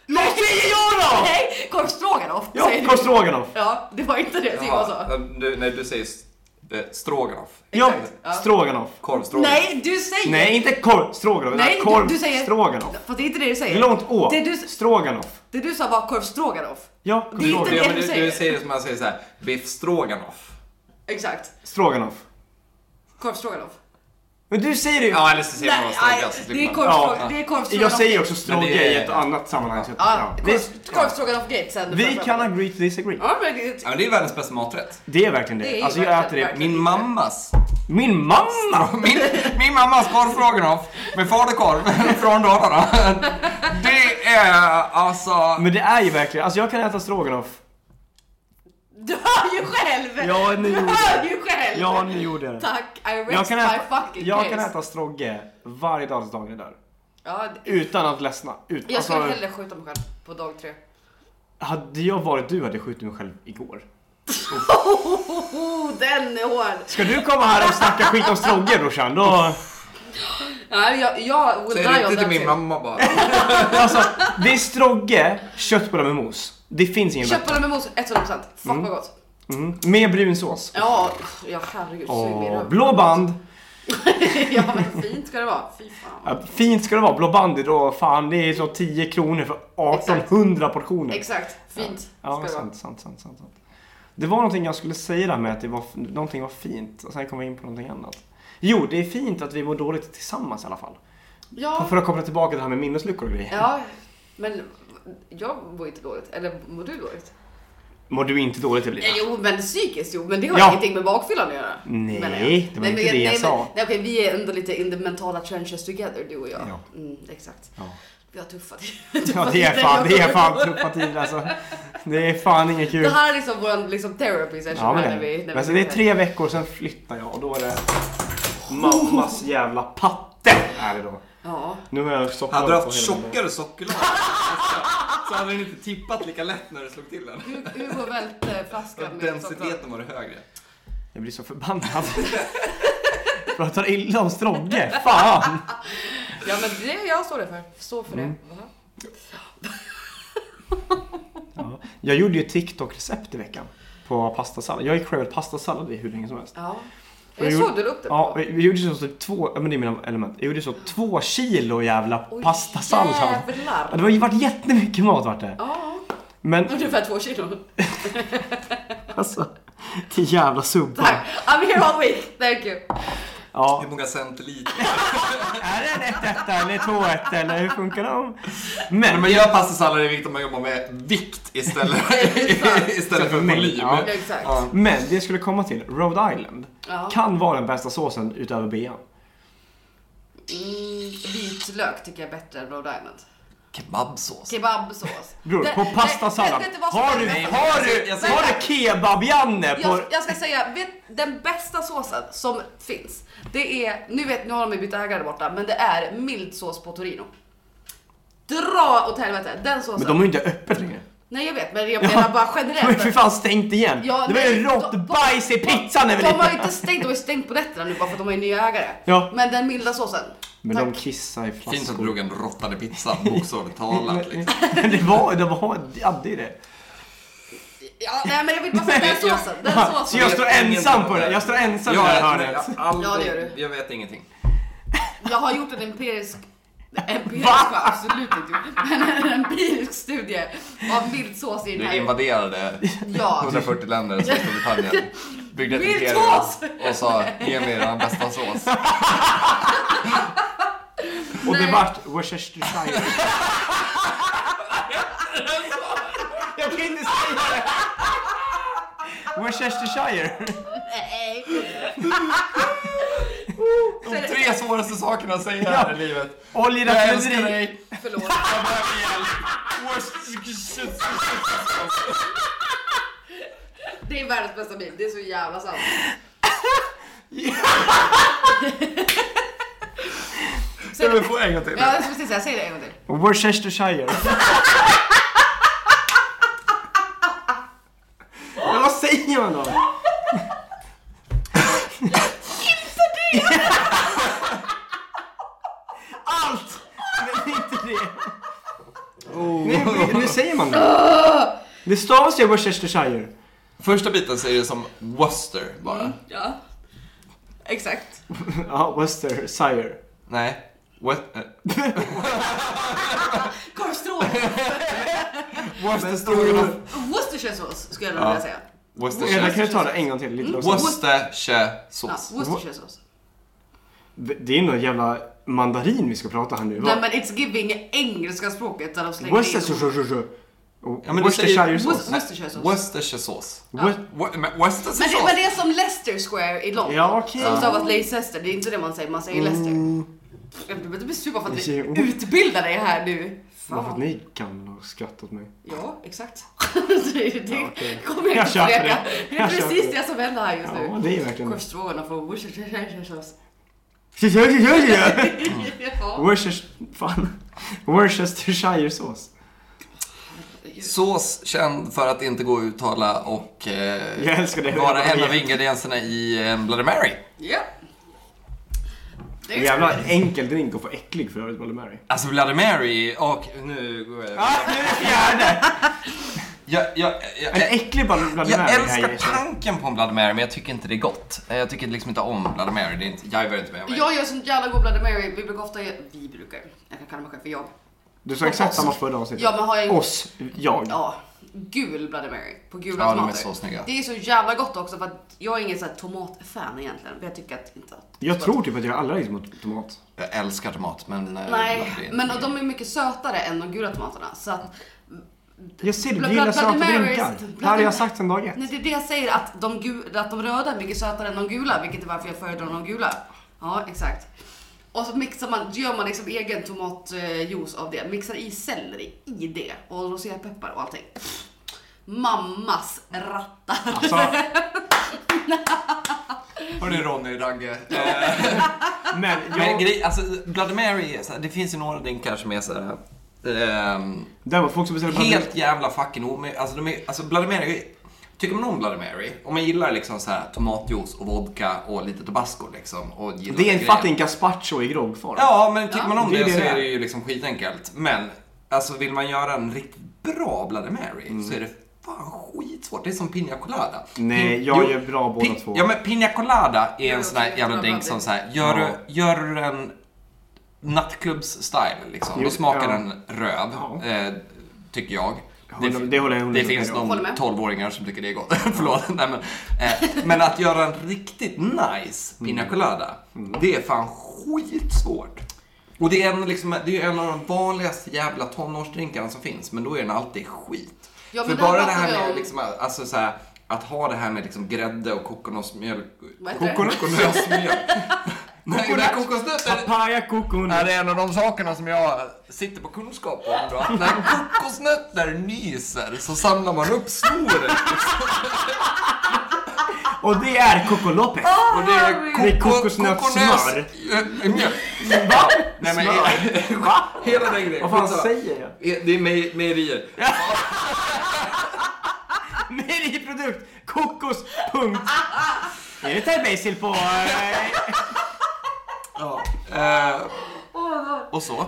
S2: Vad säger jag då?
S1: Nej, korv stroganoff
S2: Ja,
S1: säger du.
S2: korv stroganoff.
S1: Ja, det var inte det Simon sa.
S3: du, nej, du säger s- eh, stroganoff.
S2: Ja,
S1: Ja.
S2: stroganoff.
S3: Korv stroganoff.
S1: Nej, du säger...
S2: Nej, inte korv stroganoff.
S1: Nej,
S2: Nej,
S1: du-
S2: korv
S1: du säger-
S2: stroganoff.
S1: För det är inte det du
S2: Det är
S1: säger.
S2: långt å.
S1: Det du-
S2: Stroganoff.
S1: Det du sa var korv stroganoff.
S2: Ja, korv
S1: Det är inte
S2: stroganoff.
S3: Ja,
S1: det du
S3: men du,
S1: säger.
S3: du säger som man säger så här, biff stroganoff.
S1: Exakt.
S2: Stroganoff.
S1: Korv stroganoff.
S2: Men du säger det ju.
S3: Ja, eller så säger man
S1: Nej,
S3: bara
S1: aj,
S3: stroganoff. så slipper
S1: det är
S3: man.
S1: korv
S2: Ja.
S1: stroganoff. Det är korv
S2: Jag
S1: stroganoff.
S2: säger också
S3: Men
S2: strogge
S3: det är-
S2: i ett annat sammanhang. så-
S1: Ja,
S2: Vi,
S1: korv- korv stroganoff gate sen.
S2: vi kan agree to disagree.
S1: Ja, men det...
S3: Ja, men det är världens bästa maträtt.
S2: Det är verkligen det.
S1: Det är ju
S2: alltså jag
S1: verkligen-
S2: äter det.
S1: verkligen.
S3: Min mammas, (laughs)
S2: Min mamma!
S3: min, min mammas korv stroganoff med falukorv (laughs) från Dalarna. Det är alltså...
S2: Men det är ju verkligen, alltså jag kan äta stroganoff.
S1: Du hör ju själv!
S2: Ja, nu
S1: du
S2: gjorde
S1: hör ju själv!
S2: Ja, nu gjorde jag det.
S1: Tack, I rest
S2: Jag kan
S1: my
S2: äta,
S1: fucking
S2: jag
S1: case.
S2: kan äta strogge varje dag tills dagen är där.
S1: Ja, det-
S2: Utan att ledsna. Ut,
S1: jag skulle
S2: alltså,
S1: hellre skjuta mig själv på dag tre.
S2: hade jag varit du hade jag skjutit mig själv igår.
S1: Oh, den är hård!
S2: Ska du komma här och snacka skit om strogge brorsan? Då...
S1: Nej, jag, jag will
S3: Säg
S1: die
S3: det
S1: on
S3: inte till
S1: that
S3: min
S1: hill.
S3: mamma bara.
S2: Alltså, det är strogge, köttbullar med mos. Det finns ingen bättre.
S1: Köttbullar med mos, 100%. Fuck vad gott.
S2: Mm. Med brunsås.
S1: Ja, ja herregud. Sug mig i
S2: Åh,
S1: röven.
S2: blå band.
S1: (laughs) Ja, men fint ska det vara. Fy fan.
S2: Ja, Fint ska det vara. Blå band är då fan, det är så 10 kronor för 1800 portioner.
S1: Exakt, fint
S2: Ja,
S1: ska det vara.
S2: sant, sant, sant, sant, sant. Det var någonting jag skulle säga där med att det var, någonting var fint och sen kom vi in på någonting annat. Jo, det är fint att vi mår dåligt tillsammans i alla fall.
S1: Ja,
S2: För att koppla tillbaka till det här med minnesluckor och grejer.
S1: ja, men jag mår inte dåligt. Eller mår du dåligt?
S2: Mår du inte dåligt Evelina?
S1: Ja, Jo, men psykiskt jo, men det har
S2: Ja.
S1: ingenting med bakfyllan att göra.
S2: Nej,
S1: menar jag.
S2: det var inte
S1: men-
S2: det jag
S1: nej,
S2: sa.
S1: Men, nej, okej, vi är ändå lite in the mentala trenches together, du och jag.
S2: Ja.
S1: Mm, exakt.
S2: Ja.
S1: Vi har tuffa (laughs)
S2: Ja,
S1: tuffa
S2: det är
S1: tider.
S2: fan, det
S1: (laughs)
S2: är fan tuffa tider alltså. Det är fan inget kul.
S1: Det här är liksom vår liksom, therapy session
S2: Ja, men
S1: här
S2: det,
S1: när vi... När
S2: men
S1: vi
S2: alltså, det är tre veckor, sen flyttar jag och då är det mammas jävla patte. Är det då.
S1: Ja.
S2: Nu har jag stoppat
S3: Hade du
S2: på
S3: haft
S2: hela den där.
S3: tjockare sockerlag så hade den inte tippat lika lätt när du slog till den.
S1: Hugo välte flaskan med choklad.
S3: Densiteten var det högre.
S2: Jag blir så förbannad. (laughs) Pratar illa om Strogge. Fan!
S1: Ja, men det jag står det för. Står för
S2: Mm.
S1: det. Va?
S2: Ja. Jag gjorde ju ett TikTok-recept i veckan på pastasallad. Jag gick själv pastasallad i hur länge som helst.
S1: Ja.
S2: Och
S1: Jag
S2: jag
S1: såg
S2: gjorde-
S1: du la upp det
S2: Ja,
S1: på.
S2: vi gjorde så typ två, ja men det är mina element. Jag gjorde så två kilo jävla
S1: Oj,
S2: pastasallad. Ja,
S1: Jävlar.
S2: Det har ju varit jättemycket mat vart det.
S1: Ja,
S2: Men
S1: (laughs) ungefär två kilo.
S2: alltså, till jävla subbar.
S1: Tack. I'm here all week. Thank you.
S2: Ja.
S3: Hur många centiliter?
S2: Är det en 1 eller 2 1 eller hur funkar de? Men,
S3: Nej, men jag passar sallad är viktigt om man jobbar med vikt
S1: (laughs)
S3: istället, istället för
S2: Mängd,
S3: volym.
S2: ja.
S1: Ja, Exakt.
S3: Ja.
S2: men det jag skulle komma till, Rhode Island
S1: Ja.
S2: kan vara den bästa såsen utöver bean.
S1: Mm, vitlök tycker jag är bättre än Rhode Island.
S3: Kebabsås.
S1: Kebabsås.
S2: Bror,
S1: Det-
S2: på
S1: det-
S2: pastasallad.
S1: vet- vet vad som
S2: Har
S1: är
S2: du,
S1: bäst?
S2: har du,
S3: Jag
S1: säger-
S2: har du kebab-Janne på...
S1: Jag, jag ska säga, vet, den bästa såsen som finns, det är, nu vet nu har de ju bytt ägare där borta, men det är mild sås på Torino. Dra åt helvete, den såsen.
S2: Men de är ju inte öppet längre.
S1: Nej jag vet, men jag
S2: Ja.
S1: menar bara
S2: De har (laughs) ju för
S1: generellt.
S2: fan stängt igen.
S1: Ja,
S2: det var ju
S1: nej, de-
S2: rått bajs i pizzan
S1: De har ju
S2: Evelina.
S1: inte stängt, de har ju stängt på nätterna nu bara för att de har ju nya ägare.
S2: Ja.
S1: Men den milda såsen.
S2: Men
S1: tack.
S2: de kissar i flaskor.
S3: Fint att du drog en råttade pizza, bokstavligt talat. (laughs) Liksom.
S2: (laughs) det var, det var, ja det är det.
S1: Ja, nej men jag vill bara säga den
S3: Nej, jag-
S1: såsen. Den
S2: Så
S1: såsen.
S2: jag
S3: vet
S2: står
S3: ingen
S2: ensam
S3: som
S2: på
S3: har
S2: det,
S3: det.
S2: jag står ensam i det
S3: Jag,
S2: här
S3: jag,
S2: hörnet.
S1: Ja, det gör
S3: aldrig,
S1: du.
S3: jag vet ingenting.
S1: Jag har gjort en empirisk Empirisk har jag absolut inte gjort. Men en empirisk studie av mild sås i den
S3: Du
S1: här.
S3: invaderade (laughs)
S1: Ja. (laughs)
S3: 140 länder som Storbritannien. Byggde ett
S1: Vill
S3: imperium
S1: sås!
S3: och sa ge mig den
S1: (laughs)
S3: bästa sås.
S2: Och det
S1: Nej.
S2: vart Worcestershire. jag kan inte säga det. Worcestershire!
S3: De tre svåraste sakerna att säga här i livet. Jag älskar
S2: Oljeraffinaderi!
S3: dig.
S1: Förlåt.
S3: Jag behöver hjälp.
S1: Det är världens bästa bil, det är så jävla sant.
S3: Ska vi få en gång till?
S1: Ja, jag skulle precis säga, säg det en gång till.
S2: Worcestershire. (laughs) Men vad säger man då? (laughs) Allt! Men inte det. Nej, nu säger man det. Oh. Det stavas ju Worcestershire.
S3: Första biten säger det som Worcester bara.
S1: Ja. Exakt.
S2: Ja, Worcestershire.
S3: Nej. What? eh,
S1: Korvstrå.
S3: Worcestershire.
S1: Worcestershire sås skulle jag nog
S3: Ja.
S1: vilja säga.
S2: Jag kan
S3: Worcestershire.
S2: ju ta det en gång till.
S1: Mm.
S2: Lite långsamt.
S3: Worcestershire
S1: Ja,
S3: sås.
S1: Worcestershire sås.
S2: det är nog jävla mandarin vi ska prata här nu. va?
S1: Nej men it's giving engelska språket där de slänger in...
S2: Worcestershire.
S3: Ja, men du
S2: Worcestershire
S3: säger-
S2: sås.
S1: Worcestershire sås.
S3: Worcestershire sås.
S2: Wor-
S3: Wor- men
S1: Men
S3: Worcestershire
S1: det, men
S3: sås.
S1: det är som Leicester Square i London.
S2: Ja, Mm. okej.
S1: Som stavas Leicester, det är inte det man säger, man säger Leicester. Jag blir inte sur bara för att vi
S2: Jo.
S1: utbildar dig här nu.
S2: Varför att
S1: Fan.
S2: ni gamla har skrattat åt mig?
S1: Ja, exakt. (laughs) det det
S2: okej.
S1: kommer jag
S2: Jag
S1: inte
S2: köper
S1: förneka.
S2: det.
S1: Det är
S2: Jag
S1: precis
S2: köper
S1: det som händer här just
S2: Ja,
S1: nu.
S2: det är verkligen det.
S1: Korvstrågarna från Worcestershire sås.
S2: Worcestershire!
S1: (laughs) Ja.
S2: Worcestershire- fan. Worcestershire-sås.
S3: Sås känd för att inte gå att uttala och eh,
S2: Jag älskar det.
S3: vara en av ingredienserna i en Bloody Mary.
S1: Ja. Det är ju
S2: Jävla enkel drink och för äcklig för övrigt, Bloody Mary.
S3: Alltså Bloody Mary och... Nu går jag...
S2: Ah, nu är det fjärde!
S3: Jag, jag, jag,
S2: En
S3: jag,
S2: äcklig Bloody Mary.
S3: jag
S2: här
S3: älskar
S2: ger sig.
S3: tanken på en Bloody Mary men jag tycker inte det är gott. Eh, Jag tycker liksom inte om Bloody Mary. Det är inte, jag är inte med mig.
S1: Jag gör sånt jävla god Bloody Mary. Vi brukar ofta göra... Vi brukar. Jag kan kalla mig själv för jag.
S2: Du sa exakt samma förra avsnittet.
S1: Ja, men har jag-
S2: Oss. Jag.
S1: Ja, gul Bloody Mary på gula
S3: Ja, de är
S1: tomater.
S3: så snygga.
S1: Det är så jävla gott också för att jag är ingen sån här tomatfan egentligen. För jag tycker att inte att...
S2: Jag tror typ att jag är allergisk mot tomat.
S3: Jag älskar tomat men... eh,
S1: Nej,
S3: det är-
S1: men och de är mycket sötare än de gula tomaterna. Så att,
S2: Jag ser det,
S1: Bla-
S2: du gillar
S1: Bloody
S2: söta
S1: Marys-
S2: drinkar. Det här har
S1: Bloody-
S2: jag sagt sedan dag ett.
S1: nej, det är det jag säger att de, gu, att de röda är mycket sötare än de gula, vilket är varför jag föredrar de gula. Ja, exakt. Och så mixar man, gör man liksom egen tomatjuice av det. Mixar i selleri i det och rosépeppar och allting. Mammas rattar.
S2: Alltså,
S3: Hörni Ronny, Ragge. Eh,
S2: men
S3: Men
S2: jag...
S3: grej, alltså Bloody Mary, är så här, det finns ju några drinkar som är så här, ehm,
S2: Däremot folk som beställer Bloody
S3: helt jävla fucking omöjliga. Alltså, de är, alltså Bloody Mary, tycker man om Bloody Mary, om man gillar liksom så här tomatjuice och vodka och lite tabasco liksom. Och gillar
S2: Det är
S3: den
S2: en
S3: grejen.
S2: fucking gazpacho i groggform.
S3: Ja, men tycker man om
S2: det
S3: det,
S2: är det
S3: så
S2: det
S3: är
S2: är.
S3: det ju liksom skitenkelt. Men alltså vill man göra en riktigt bra Bloody Mary så är det fan skitsvårt. Det är som Pina Colada.
S2: Mm. Nej,
S3: Pin-
S2: jag
S3: jo,
S2: gör bra båda
S3: Pi-
S2: två.
S3: Ja men Pina Colada är
S1: Ja,
S3: en sån här
S1: jag
S3: jävla
S1: tror
S3: drink
S1: jag
S3: som så här, gör,
S2: Ja.
S3: du, gör du den nattklubbs-style liksom,
S2: Jo,
S3: då smakar
S2: ja.
S3: den röv,
S2: Ja.
S3: eh, tycker jag.
S2: Håller- det håller jag hundra
S3: Det finns
S2: procent med
S1: om.
S3: någon
S1: Håller med.
S3: 12-åringar som tycker det är gott. (laughs) Förlåt. Nej, men, eh, men att göra en riktigt
S1: Mm.
S3: nice Pina Colada, det är fan skitsvårt. Och det är, en, liksom, det är en av de vanligaste jävla tonårsdrinkarna som finns, men då är den alltid skit.
S1: Ja, men
S3: För
S1: det
S3: bara det
S1: pratar
S3: här
S1: vi
S3: med
S1: om.
S3: liksom, alltså, så här, att ha det här med liksom, grädde och kokosmjölk...
S1: Vad heter det? (laughs)
S3: Kokosnötsmjölk. Nej,
S2: Kokos-
S3: nej, kokosnötter
S2: Papaya kokon.
S3: är det en av de sakerna som jag sitter på kunskap om. Då. Att när kokosnötter nyser så samlar man upp snor.
S2: Och det är Coco Lopez.
S1: Ah!
S3: Och det är,
S2: Det är kokosnötssmör.
S3: Va? Nej, men,
S2: Smör. Va?
S3: (laughs) hela den grejen.
S2: Vad fan
S3: Skitsamma.
S2: säger (laughs) jag?
S3: Det är me- mejerier.
S2: Mejeriprodukt. Kokos. (laughs) Punkt. Är det Thai-basil på? eh, (laughs)
S3: Ja. Eh, och så.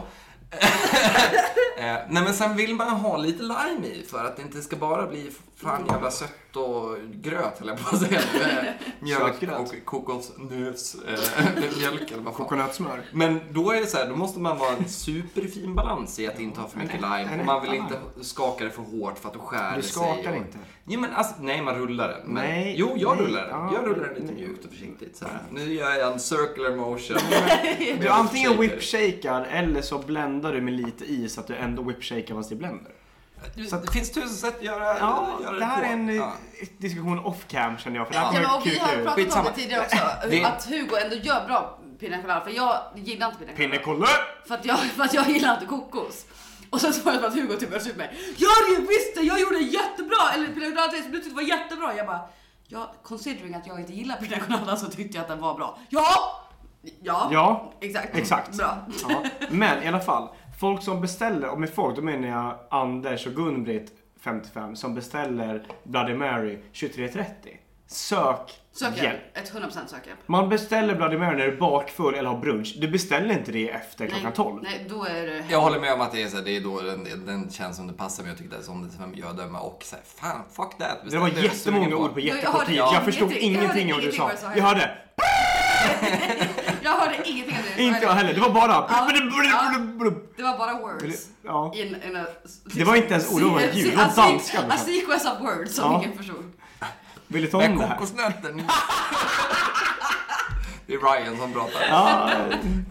S3: (laughs) eh, nej men sen vill man ha lite lime i för att det inte ska bara bli fan jävla sött och gröt höll jag på att säga. Eh, Mjölk
S2: Sötgröt.
S3: och kokosnös, eh, (laughs) mjölk eller vad fan.
S2: Kokonötssmör.
S3: Men då är det så här, då måste man vara en superfin balans i att inte ha för mycket lime.
S2: en
S3: Och man vill
S2: äkta
S3: inte skaka det för hårt för att då skär
S2: Du
S3: det sig.
S2: skakar
S3: och-
S2: inte.
S3: Jo, men alltså, nej, man rullar den. Men,
S2: Nej,
S3: jo, jag
S2: nej,
S3: rullar den.
S2: ja,
S3: jag rullar den lite
S2: nej.
S3: mjukt och försiktigt. Så här. Nu gör jag en circular motion.
S2: (laughs) Du antingen whipshakar eller så bländar du med lite i så att du ändå whipshakar fast i blender. Så att-
S3: det finns tusen sätt att göra,
S2: Ja,
S3: göra
S2: det här
S3: på.
S2: är en
S3: Ja.
S2: eh, diskussion off cam känner jag. För det
S1: Ja,
S2: här
S1: men,
S2: kommer
S1: och vi har
S2: kuka ur.
S1: pratat
S3: Skitsamma.
S1: om det tidigare också.
S3: Det-
S1: Att Hugo ändå gör bra pina colada. För jag gillar inte pina colada.
S2: Pinne kolla!
S1: För att jag, för att jag gillar inte kokos. Och sen så var det bara att Hugo typ började ut mig. Jag visste, jag gjorde jättebra! Eller pina colada som du tyckte var jättebra. Jag bara, ja, considering att jag inte gillar pina colada så tyckte jag att den var bra. Ja! Ja,
S2: Ja,
S1: exakt.
S2: exakt.
S1: Bra.
S2: Ja. Men i alla fall, folk som beställer, och med folk då menar jag Anders och Gun-Britt 55 som beställer Bloody Mary 23.30. Sök
S1: Söker.
S2: hjälp.
S1: Ett 100% söker.
S2: Man beställer Bloody Mary när du är bakfull eller har brunch. Du beställer inte det efter klockan 12.
S1: Nej, då är det... (laughs)
S3: Jag håller med om att det är, så här, det är då den, den känns som det passar men jag tycker det är som det som jag dömer och så här, fan fuck that.
S2: Det var
S3: Bestäm du är sugen
S2: jättemånga ord på
S1: Jag
S2: jättekort
S1: hörde
S2: tid.
S1: ingenting.
S2: Jag förstod
S1: Jag hörde
S2: ingenting av det du
S1: ingenting
S2: sa.
S1: vad jag sa.
S2: Jag hörde
S1: Jag hörde ingenting av det.
S2: inte jag heller. Det var bara...
S1: Ja. Det var bara
S2: Eller-
S1: words.
S2: Ja.
S1: In, in a,
S2: Det var inte ens ord, det var ljud. Det var
S1: A se-
S2: danska, men-
S1: A sequence of words som
S2: Ja.
S1: ingen förstod.
S2: Vill du ta om
S3: Men
S2: det här?
S3: kokosnöten. det är Ryan som pratar.
S2: Ja.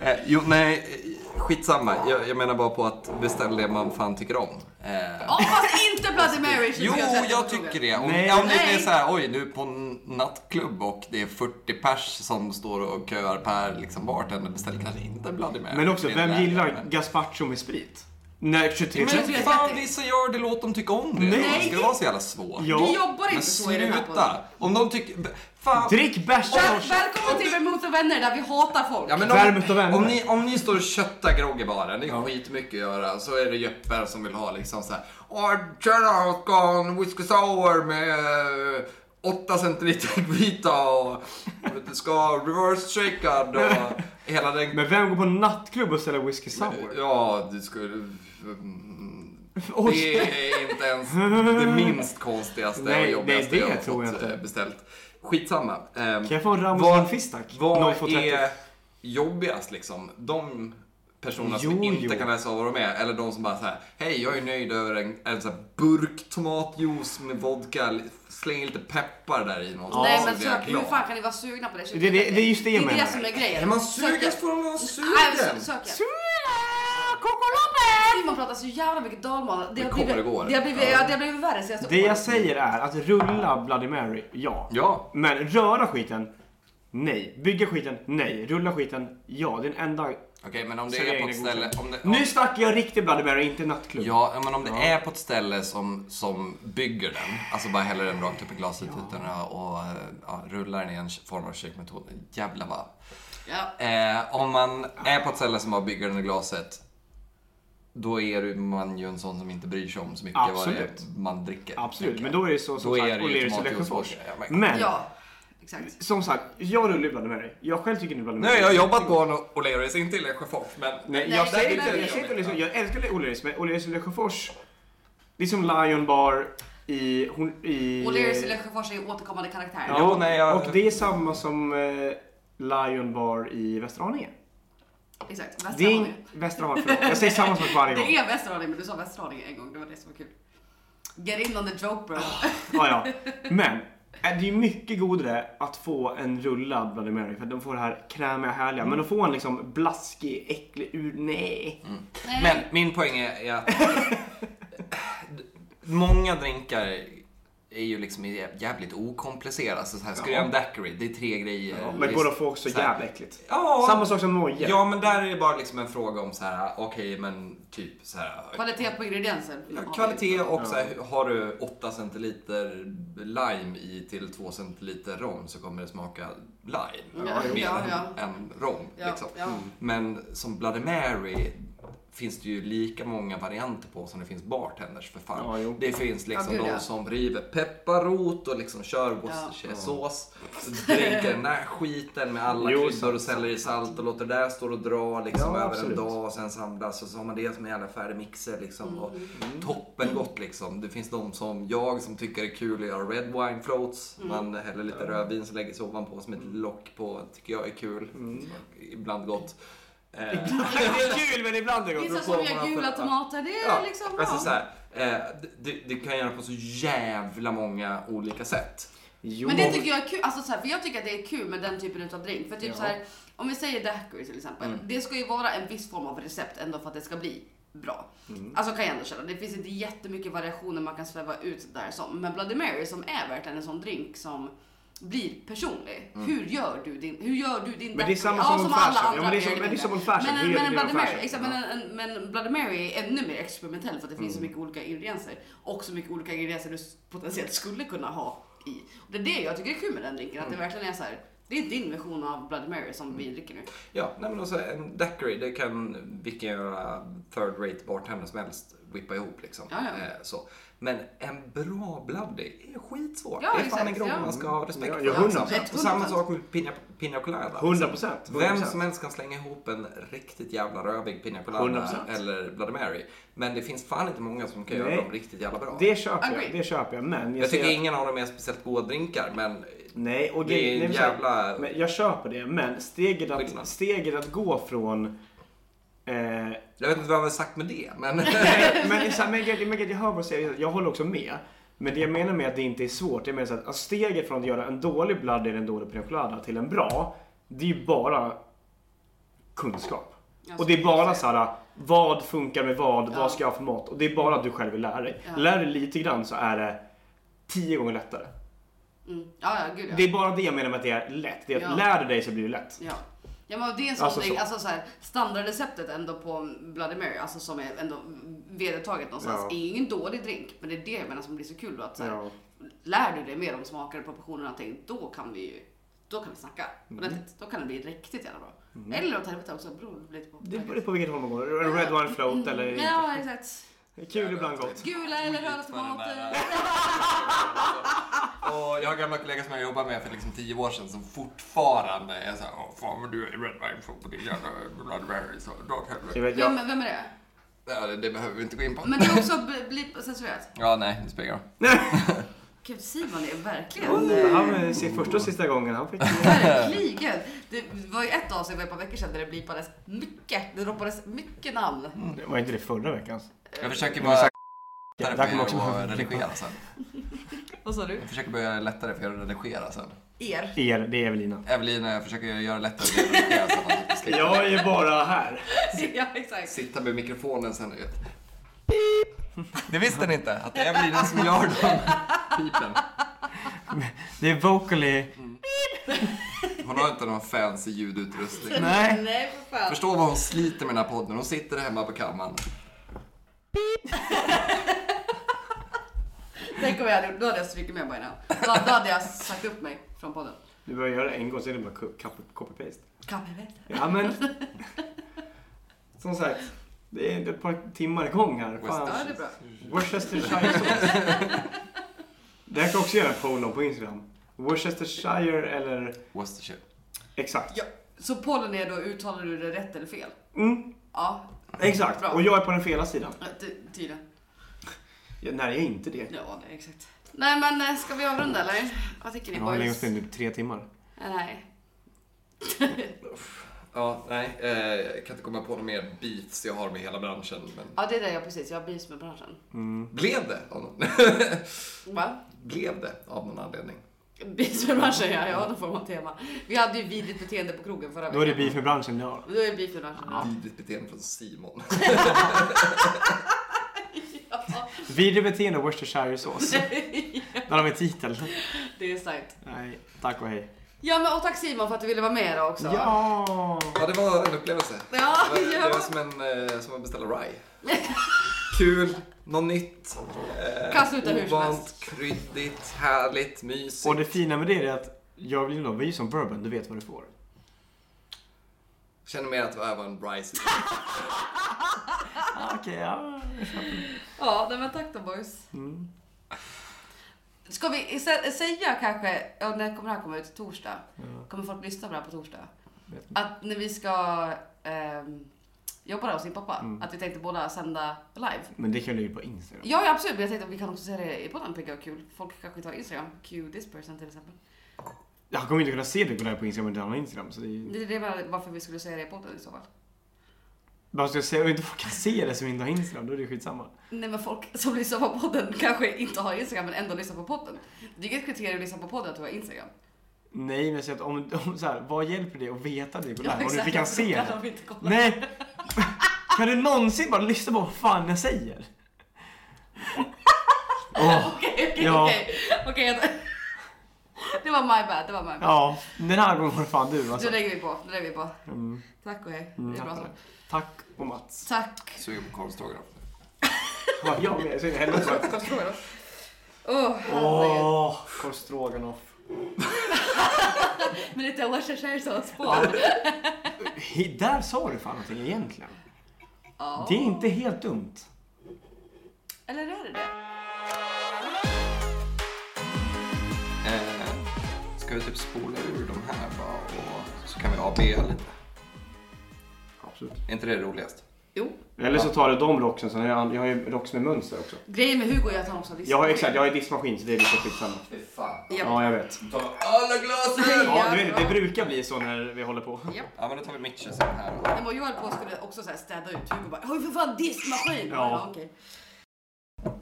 S3: Eh, jo, nej, eh, skitsamma. Jag, jag menar bara på att beställ det man fan tycker om. Eh,
S1: Ja, fast inte Bloody Mary
S3: Jo,
S1: 2013,
S3: jag tycker det. Om,
S2: Nej.
S3: ja, om det
S1: Nej.
S3: är så här, oj, nu är på en nattklubb och det är 40 pers som står och köar per liksom, bartender. Beställ kanske inte Bloody Mary.
S2: Men också,
S3: Det är
S2: vem
S3: lägre,
S2: gillar
S3: men-
S2: gazpacho med sprit? Nej, 23
S3: Men fan, vissa gör det. Låt dem tycka om det.
S2: Nej.
S3: Nej. Ska det vara så jävla svårt?
S2: Ja.
S1: Vi jobbar
S3: Men
S1: inte så i den här podden.
S3: sluta! Om de tycker... Fan,
S2: Drick bärs
S1: Väl,
S2: först!
S1: välkommen till Vermouth och vänner där vi hatar folk.
S3: Ja, men
S2: Värm utav
S3: om,
S2: vänner.
S3: om, ni, om ni står och köttar grogg i baren, det är skitmycket att göra, så är det Jeppe som vill ha liksom såhär Åh, tjena, jag ska ha en whisky sour med 8 centiliter vita och du ska ha reverse shakad och hela (laughs) den...
S2: Men vem går på en nattklubb och ställer whisky sour?
S3: Ja, du skulle... mm, Det
S2: Oj!
S3: är inte ens det minst konstigaste och
S2: Nej,
S3: jobbigaste
S2: nej, det
S3: jag har
S2: tror jag
S3: fått
S2: inte.
S3: eh, beställt. Skitsamma.
S2: Kan
S3: Ehm,
S2: jag få en Ramos
S3: Vad-
S2: Manfistac?
S3: Vad
S2: 02.30.
S3: är jobbigast liksom? De personerna som
S2: Jo,
S3: inte
S2: jo.
S3: kan läsa av vad de är eller de som bara såhär, hej jag är nöjd över en, en så här burk tomatjuice med vodka, li- slänger lite peppar där i något.
S1: Nej
S3: så
S1: men
S3: blir jag
S1: sök,
S3: glad."
S1: hur fan kan ni vara sugna på det?
S2: Det- det- det är just det jag
S1: Det är
S2: menar.
S1: det som är grejen.
S3: Är man
S1: Sök
S3: sugen
S1: hjälp.
S3: så får man vara
S1: Nej, men
S3: sugen.
S1: sök- sök hjälp.
S2: Kokoloppet!
S1: Man pratar så jävla mycket dalmål. Det, har
S3: kommer
S1: blivit-
S3: och går.
S1: det har blivit,
S3: Ja.
S1: ja. det har blivit värre senaste
S2: Det jag
S1: året.
S2: säger är att rulla Bloody Mary, ja.
S3: Ja.
S2: Men röra skiten, nej. Bygga skiten, nej. Rulla skiten, ja. Det är den enda...
S3: Okej men om det är
S2: serveringen
S3: på ett
S2: är
S3: ställe,
S2: godkänd.
S3: om det,
S2: Nu snackar jag riktig Bloody Mary, inte nattklubb.
S3: Ja, men om det
S2: Ja.
S3: är på ett ställe som, som bygger den, alltså bara häller den rakt upp i glasrutan och eh, ja, rullar den i en form av kökmetod. Jävlar vad
S1: Ja.
S3: Eh, om man är på ett ställe som har byggaren i glaset, då är du- man ju en sån som inte bryr sig om så mycket vad det
S2: Absolut.
S3: är man dricker.
S2: Absolut,
S3: tänker
S2: men
S3: jag.
S2: då är det så som
S3: Då är
S2: sagt
S3: det ju
S2: O'Learys i
S3: tomatjuice
S2: Lesjöfors.
S3: och vodka. Ja, men-
S2: Men,
S1: Ja, exakt.
S2: som sagt, jag rullar ju Bloody Mary. Jag själv tycker inte Bloody
S3: Nu
S2: Mary.
S3: har jag jobbat på en O'Learys, inte i Lesjöfors, men...
S2: Nej,
S1: Nej,
S2: jag säger
S1: nej,
S2: inte
S1: nej,
S2: jag säger inte
S3: nej.
S2: O'Learys. Jag älskar O'Learys, men O'Learys i Lesjöfors. Det är som Lion Bar i... Hon, i
S1: O'Learys i Lesjöfors är återkommande karaktär.
S2: Ja,
S3: Jo, nej, jag-
S2: och det är samma som eh, Lion Bar i Västerhaninge.
S1: Exakt. Västra
S2: Det är
S1: Haninge.
S2: Västerhaninge, förlåt. Jag säger samma sak (laughs) varje gång.
S1: Det är Västerhaninge, men du sa Västerhaninge en gång. Det var det som var kul. Get in on the joke bro.
S3: Ah,
S2: Ja, ja. Men eh, det är mycket godare att få en rullad Bloody Mary för de får det här krämiga härliga. Men att få en liksom blaskig, äcklig ur... Nej.
S1: Nej.
S3: Men min poäng är är att (laughs) många drinkar är ju liksom jävligt okomplicerade. Alltså så här, ska du
S2: Ja.
S3: göra en daiquiri, det är tre grejer.
S2: Ja, men
S3: Just
S2: båda får också
S3: så här-
S2: jävla äckligt.
S3: Ja,
S2: Samma sak som Noje.
S3: ja, men där är det bara liksom en fråga om så här, okej, men typ så här,
S1: Kvalitet på ingredienser.
S3: Ja, Kvalitet och så här, har du 8 centiliter lime i till 2 centiliter rom så kommer det smaka lime.
S1: Ja,
S3: mer
S1: ja,
S3: än-
S1: ja.
S3: än rom.
S1: Ja,
S3: liksom.
S1: ja.
S3: Men som Bloody Mary finns det ju lika många varianter på som det finns bartenders för fan.
S2: Ja, jo.
S3: det finns liksom
S1: Ja, gud,
S3: de
S1: ja.
S3: som river pepparrot och liksom kör Worcestershiresås. Dränker den där skiten med alla
S2: Jo,
S3: kryddor och
S2: sant, sant.
S3: selleri salt och låter det där stå och dra liksom
S2: Ja,
S3: över
S2: absolut.
S3: en dag och sen samlas och så har man det som en jävla färdig mixer liksom. Och
S1: Mm.
S2: Mm.
S3: toppen gott liksom. Det finns de som jag som tycker det är kul att göra red wine floats.
S1: Mm.
S3: Man häller lite rödvin så lägger sig ovanpå som ett
S2: Mm.
S3: lock på. Tycker jag är kul. Ibland gott.
S2: (laughs)
S3: Eh,
S2: Det är kul men ibland är det
S1: Vissa
S2: gott.
S1: som gör gula tomater, det är
S3: ja,
S1: liksom
S3: alltså så här, eh, det- det, det kan jag göra på så jävla många olika sätt.
S2: Jo,
S1: Men det tycker jag är kul, alltså så här, för jag tycker att det är kul med den typen utav drink. För typ
S2: Ja.
S3: Mm.
S1: så här, om vi säger daiquiri till exempel. Det ska ju vara en viss form av recept ändå för att det ska bli bra.
S3: Mm.
S1: Alltså kan jag ändå känna. Det finns inte jättemycket variationer man kan sväva ut där som. Men Bloody Mary som är verkligen en sån drink som blir personlig.
S3: Mm.
S1: Hur gör du din, hur gör du din
S2: Men det är
S1: Black-
S2: samma
S1: ja,
S2: som Old
S1: alla
S2: Fashion.
S1: andra
S2: Ja, men det är som-
S1: mer eller
S2: men det är som
S1: mindre.
S2: Old
S1: Men,
S2: Fashion. Det är
S1: men,
S2: ju
S1: Bloody
S2: Old
S1: Mary,
S2: Fashion.
S1: exakt, men, en, men Bloody Mary är ännu mer experimentell för att det finns så
S2: Mm.
S1: mycket olika ingredienser och så mycket olika ingredienser du s- potentiellt skulle kunna ha i. Och det är det jag tycker är kul med den drinken, att
S2: Mm.
S1: det verkligen är så här. Det är din version av Bloody Mary som vi dricker nu.
S3: Ja, nej men alltså en daiquiri, det kan vilken jävla third rate bartender som helst whippa ihop liksom.
S1: Ja, ja.
S3: Eh, Så. Men en bra bloody är skitsvårt.
S1: Ja,
S3: det är fan
S1: exakt,
S3: en grogg
S1: ja.
S3: man ska ha respekt
S2: Ja,
S3: för.
S2: ja, hundra
S3: liksom.
S1: procent.
S3: Och samma sak med pina, pina colada.
S2: 100 procent.
S3: Vem som helst kan slänga ihop en riktigt jävla rövig Pina Colada
S2: 100%.
S3: eller Bloody Mary. Men det finns fan inte många som kan
S2: Nej.
S3: göra dem riktigt jävla bra.
S2: Det köper jag,
S1: Agree.
S2: det köper jag. Men jag,
S3: jag
S2: ser
S3: tycker
S2: att-
S3: ingen av dem är speciellt goda drinkar, men
S2: Nej, och
S3: Det
S2: grej-
S3: är en
S2: nej, men så här,
S3: jävla-
S2: Men jag köper det, men steget att,
S3: Skillnad.
S2: steget att gå från...
S1: (laughs)
S2: Eh,
S3: jag vet inte vad jag har sagt med det. Men
S2: Nej, men, så här, men, jag, men jag hör vad du säger, jag håller också med. Men det jag menar med att det inte är svårt, jag menar så att alltså, steget från att göra en dålig blood eller en dålig Pina Colada till en bra, det är ju bara kunskap.
S1: Jag
S2: Och det är
S1: skulle
S2: bara
S1: säga.
S2: så här, vad funkar med vad,
S1: Alltså, Ja.
S2: vad ska jag ha för mat? Och det är bara att du själv vill lära dig.
S1: Ja.
S2: Lär dig lite grann så är det tio gånger lättare.
S1: Mm. Ja, ja, gud ja.
S2: Det är bara det jag menar med att det är lätt. Det är att
S1: Ja.
S2: lär du dig så blir det lätt.
S1: Ja. Ja, men det är en sån
S2: Alltså
S1: ding,
S2: så.
S1: alltså så här, standardreceptet ändå på Bloody Mary, alltså som är ändå vedertaget någonstans,
S2: Ja.
S1: är ingen dålig drink. Men det är det jag menar som blir så kul då, att så här,
S2: Ja.
S1: lär du dig mer om smaker, proportioner och allting, då kan vi ju då kan vi snacka
S2: Mm.
S1: ordentligt. Då kan det bli riktigt jävla bra. Eller åt helvete också, beror lite på.
S2: Det beror på vilket håll man går. Red wine float eller inte.
S1: Mm. Ja, exakt.
S2: Kul ibland gott.
S1: Gula eller röda
S3: Skit vad den
S1: tomater.
S3: där Och jag har gamla kollegor som jag jobbade med för liksom tio år sedan som fortfarande är såhär, Åh, fan men du är red wine från på din jävla Blood Mary, så dra åt
S2: Jag
S3: helvete.
S2: vet, jag,
S1: Vem, vem är det?
S3: Ja, det, det behöver vi inte gå in på.
S1: Men det är också bli- bli censurerat.
S3: Ja, nej, det spelar ingen roll.
S1: Gud, Simon är verkligen...
S2: Oh, han eh, sin första och sista gången han fick
S1: Verkligen! Det var ju ett avsnitt för ett par veckor sedan där det blipades mycket, det droppades mycket namn.
S2: Det var inte det förra veckans?
S3: Jag försöker
S2: Men
S3: bara
S2: Där
S3: lättare
S2: kommer
S3: för
S2: också-
S3: er att redigera sen.
S1: Vad sa du?
S3: Jag försöker börja göra det lättare för er att redigera sen.
S1: Er.
S2: Er, det är Evelina.
S3: Evelina, jag försöker göra det lättare för er att redigera sen. att ni slipper
S2: Jag är bara här.
S1: (laughs) ja, exakt.
S3: Sitta med mikrofonen sen, du vet. (laughs) Det visste ni inte, att det är Evelina som gör de pipen.
S2: Det är vocally...
S3: Hon har inte någon fancy ljudutrustning.
S2: Nej.
S1: Nej, för fan.
S3: Förstå vad hon sliter med den här podden. Hon sitter hemma på kammaren.
S1: Tänk om jag hade gjort, då hade jag strukit med by now. Då, då hade jag sagt upp mig från podden.
S2: Du behöver göra det en gång, sen är det bara co- copy- copy-paste.
S1: Kan vi veta?
S2: Ja men... Som sagt, det är ett par timmar igång här.
S1: Ja,
S2: Fan.
S1: det är bra.
S2: Worcestershire sås. Det här kan jag också göra en poll om på Instagram. Worcestershire eller...
S3: Worcestershire.
S2: Exakt.
S1: Ja. Så pollen är då, uttalar du det rätt eller fel?
S2: Mm,
S1: Ja,
S2: exakt.
S1: Bra.
S2: Och jag är på den fela sidan.
S1: ty- tydligen.
S2: Ja, nej, jag är inte det.
S1: Ja, det är exakt. Nej men eh, ska vi avrunda eller? Vad tycker ni
S2: Jag har legat
S1: boys? Eh,
S2: still i typ tre timmar.
S1: Nej.
S3: Ja, nej. Eh, jag kan inte komma på några mer beefs jag har med hela branschen. Men...
S1: Ja det är det jag precis, jag har beefs med branschen.
S3: Blev det av någon... (laughs)
S1: Va?
S3: Blev det av någon anledning?
S1: Beef med branschen ja, ja då får man tema. Vi hade ju vidrigt beteende på krogen förra
S2: Då är det beef med branschen jag har.
S1: Då är det beef med branschen. Ja.
S3: Vidrigt beteende från Simon.
S1: Ja,
S2: Vidre beteende och (laughs) Worcestershire-sås. Där har vi titel.
S1: det är starkt.
S2: Nej, tack och hej.
S1: Ja men och tack Simon för att du ville vara med idag också.
S2: Ja!
S3: Ja, det var en upplevelse.
S1: Ja,
S3: Det var, det var
S1: ja.
S3: som, en, eh, som att beställa rye. (laughs) Kul, något nytt, eh,
S1: Kan sluta hur som helst.
S3: ovant, kryddigt, härligt, mysigt.
S2: Och det fina med det är att jag vill nog, vi är som bourbon, du vet vad du får.
S3: Känner mer att det här var en rye
S2: Ah, Okej, ja.
S1: Ja, nej, men tack då boys.
S2: Mm.
S1: Ska vi sä- säga kanske, ja, när kommer det här komma ut? Torsdag? Kommer folk lyssna på det här på torsdag?
S2: Vet
S1: Att när vi ska ehm, jobba där hos din pappa,
S2: Mm.
S1: att vi tänkte båda sända live.
S2: Men det kan du ju på Instagram.
S1: Ja, ja absolut, men jag tänkte att vi kan också säga det i podden, tycker jag är kul. Folk kanske tar Instagram, Q this person till exempel.
S2: Jag kommer inte kunna se det på det här på Instagram, men det har Instagram. Så det är ju...
S1: Det är det var- varför vi skulle säga det i podden i så fall.
S2: Bara ska jag säga, om inte folk kan se det som inte har Instagram, då är det skitsamma.
S1: Nej men folk som lyssnar på podden (laughs) kanske inte har Instagram men ändå lyssnar på podden. Det är inget kriterium att lyssna på podden att du har Instagram.
S2: Nej, men jag säger att om, om så här, vad hjälper det att veta det
S1: Ja, (laughs)
S2: på live? Om du
S1: exakt.
S2: inte kan se
S1: Då
S2: det?
S1: de inte kolla.
S2: Nej! (laughs) Kan du någonsin bara lyssna på vad fan jag säger? Åh,
S1: Okej, okej,
S2: Ja.
S1: okej. Okej, jag- Det var my bad, det var my bad.
S2: ja, den här gången var det fan du alltså.
S1: Det lägger vi på, det lägger vi på.
S2: Mm.
S1: Tack och hej. Det är bra så.
S2: Tack och Mats.
S1: Tack.
S3: Suger på korvstågar.
S2: Ja, jag med, så är det helvete.
S1: Åh, Oh, herregud.
S2: Åh, korv stroganoff.
S1: Men lite Worcestershire-sås på.
S2: (laughs) He- Där sa du fan någonting egentligen.
S1: Ja.
S2: Det är inte helt dumt.
S1: Eller är det det?
S3: Eh, ska vi typ spola ur de här bara och så kan vi ABA lite?
S2: Absolut.
S3: Är inte det roligast?
S1: Jo.
S2: Eller så tar du de rocksen, sen har jag, jag har ju rocks med mönster också.
S1: Grejen med Hugo är att han också har
S2: Jag har
S1: lyssnat.
S2: exakt, jag har ju diskmaskin så det är lite skitsamma.
S3: Fy fan.
S1: Japp.
S2: Ja, jag vet.
S3: Ta alla glasen!
S2: Ja, du vet, det brukar bli så när vi håller på.
S1: Japp.
S3: Ja men då tar vi Mitchell sen här då.
S1: Nej, men Jag höll på att skulle också så här städa ut Hugo bara Har ju för fan diskmaskin!
S2: Ja.
S1: Ja. okej.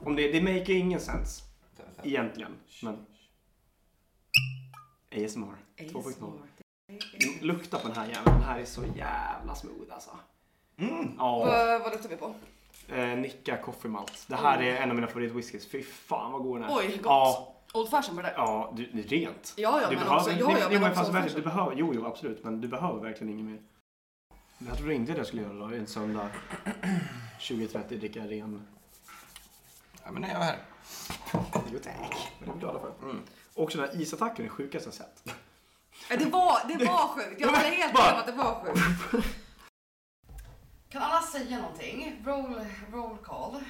S2: Om det, det make ingen sens. Egentligen. Men... ASMR 2.0.
S1: ASMR.
S2: Lukta på den här jäveln. Den här är så jävla smooth alltså. Mm. Ja.
S1: Vad- Vad luktar vi på?
S2: Eh, Nicka Coffee Malt. Det här är en av mina favoritwhiskys. Fy fan vad god den är.
S1: Oj, gott.
S2: Ja,
S1: Old fashion var det där.
S2: ja du, det är rent.
S1: Ja, ja,
S2: du
S1: men
S2: behöver,
S1: också- ja,
S2: nej,
S1: ja,
S2: nej,
S1: men
S2: men
S1: också
S2: fast
S1: old
S2: verkligen,
S1: fashion.
S2: du behöver, jo, jo absolut, men du behöver verkligen inget mer. Jag trodde inte att jag skulle göra det då, en söndag 2030 dricka ren
S3: Ja men nu är jag här.
S2: Jo tack. Men det är vi glada för. Och Mm. den här isattacken är sjukast jag sett.
S1: Ja, Det var, det var sjukt. Jag
S2: Det var-
S1: håller helt
S2: bara-
S1: med om att det var sjukt. Kan alla säga någonting? Roll, roll call.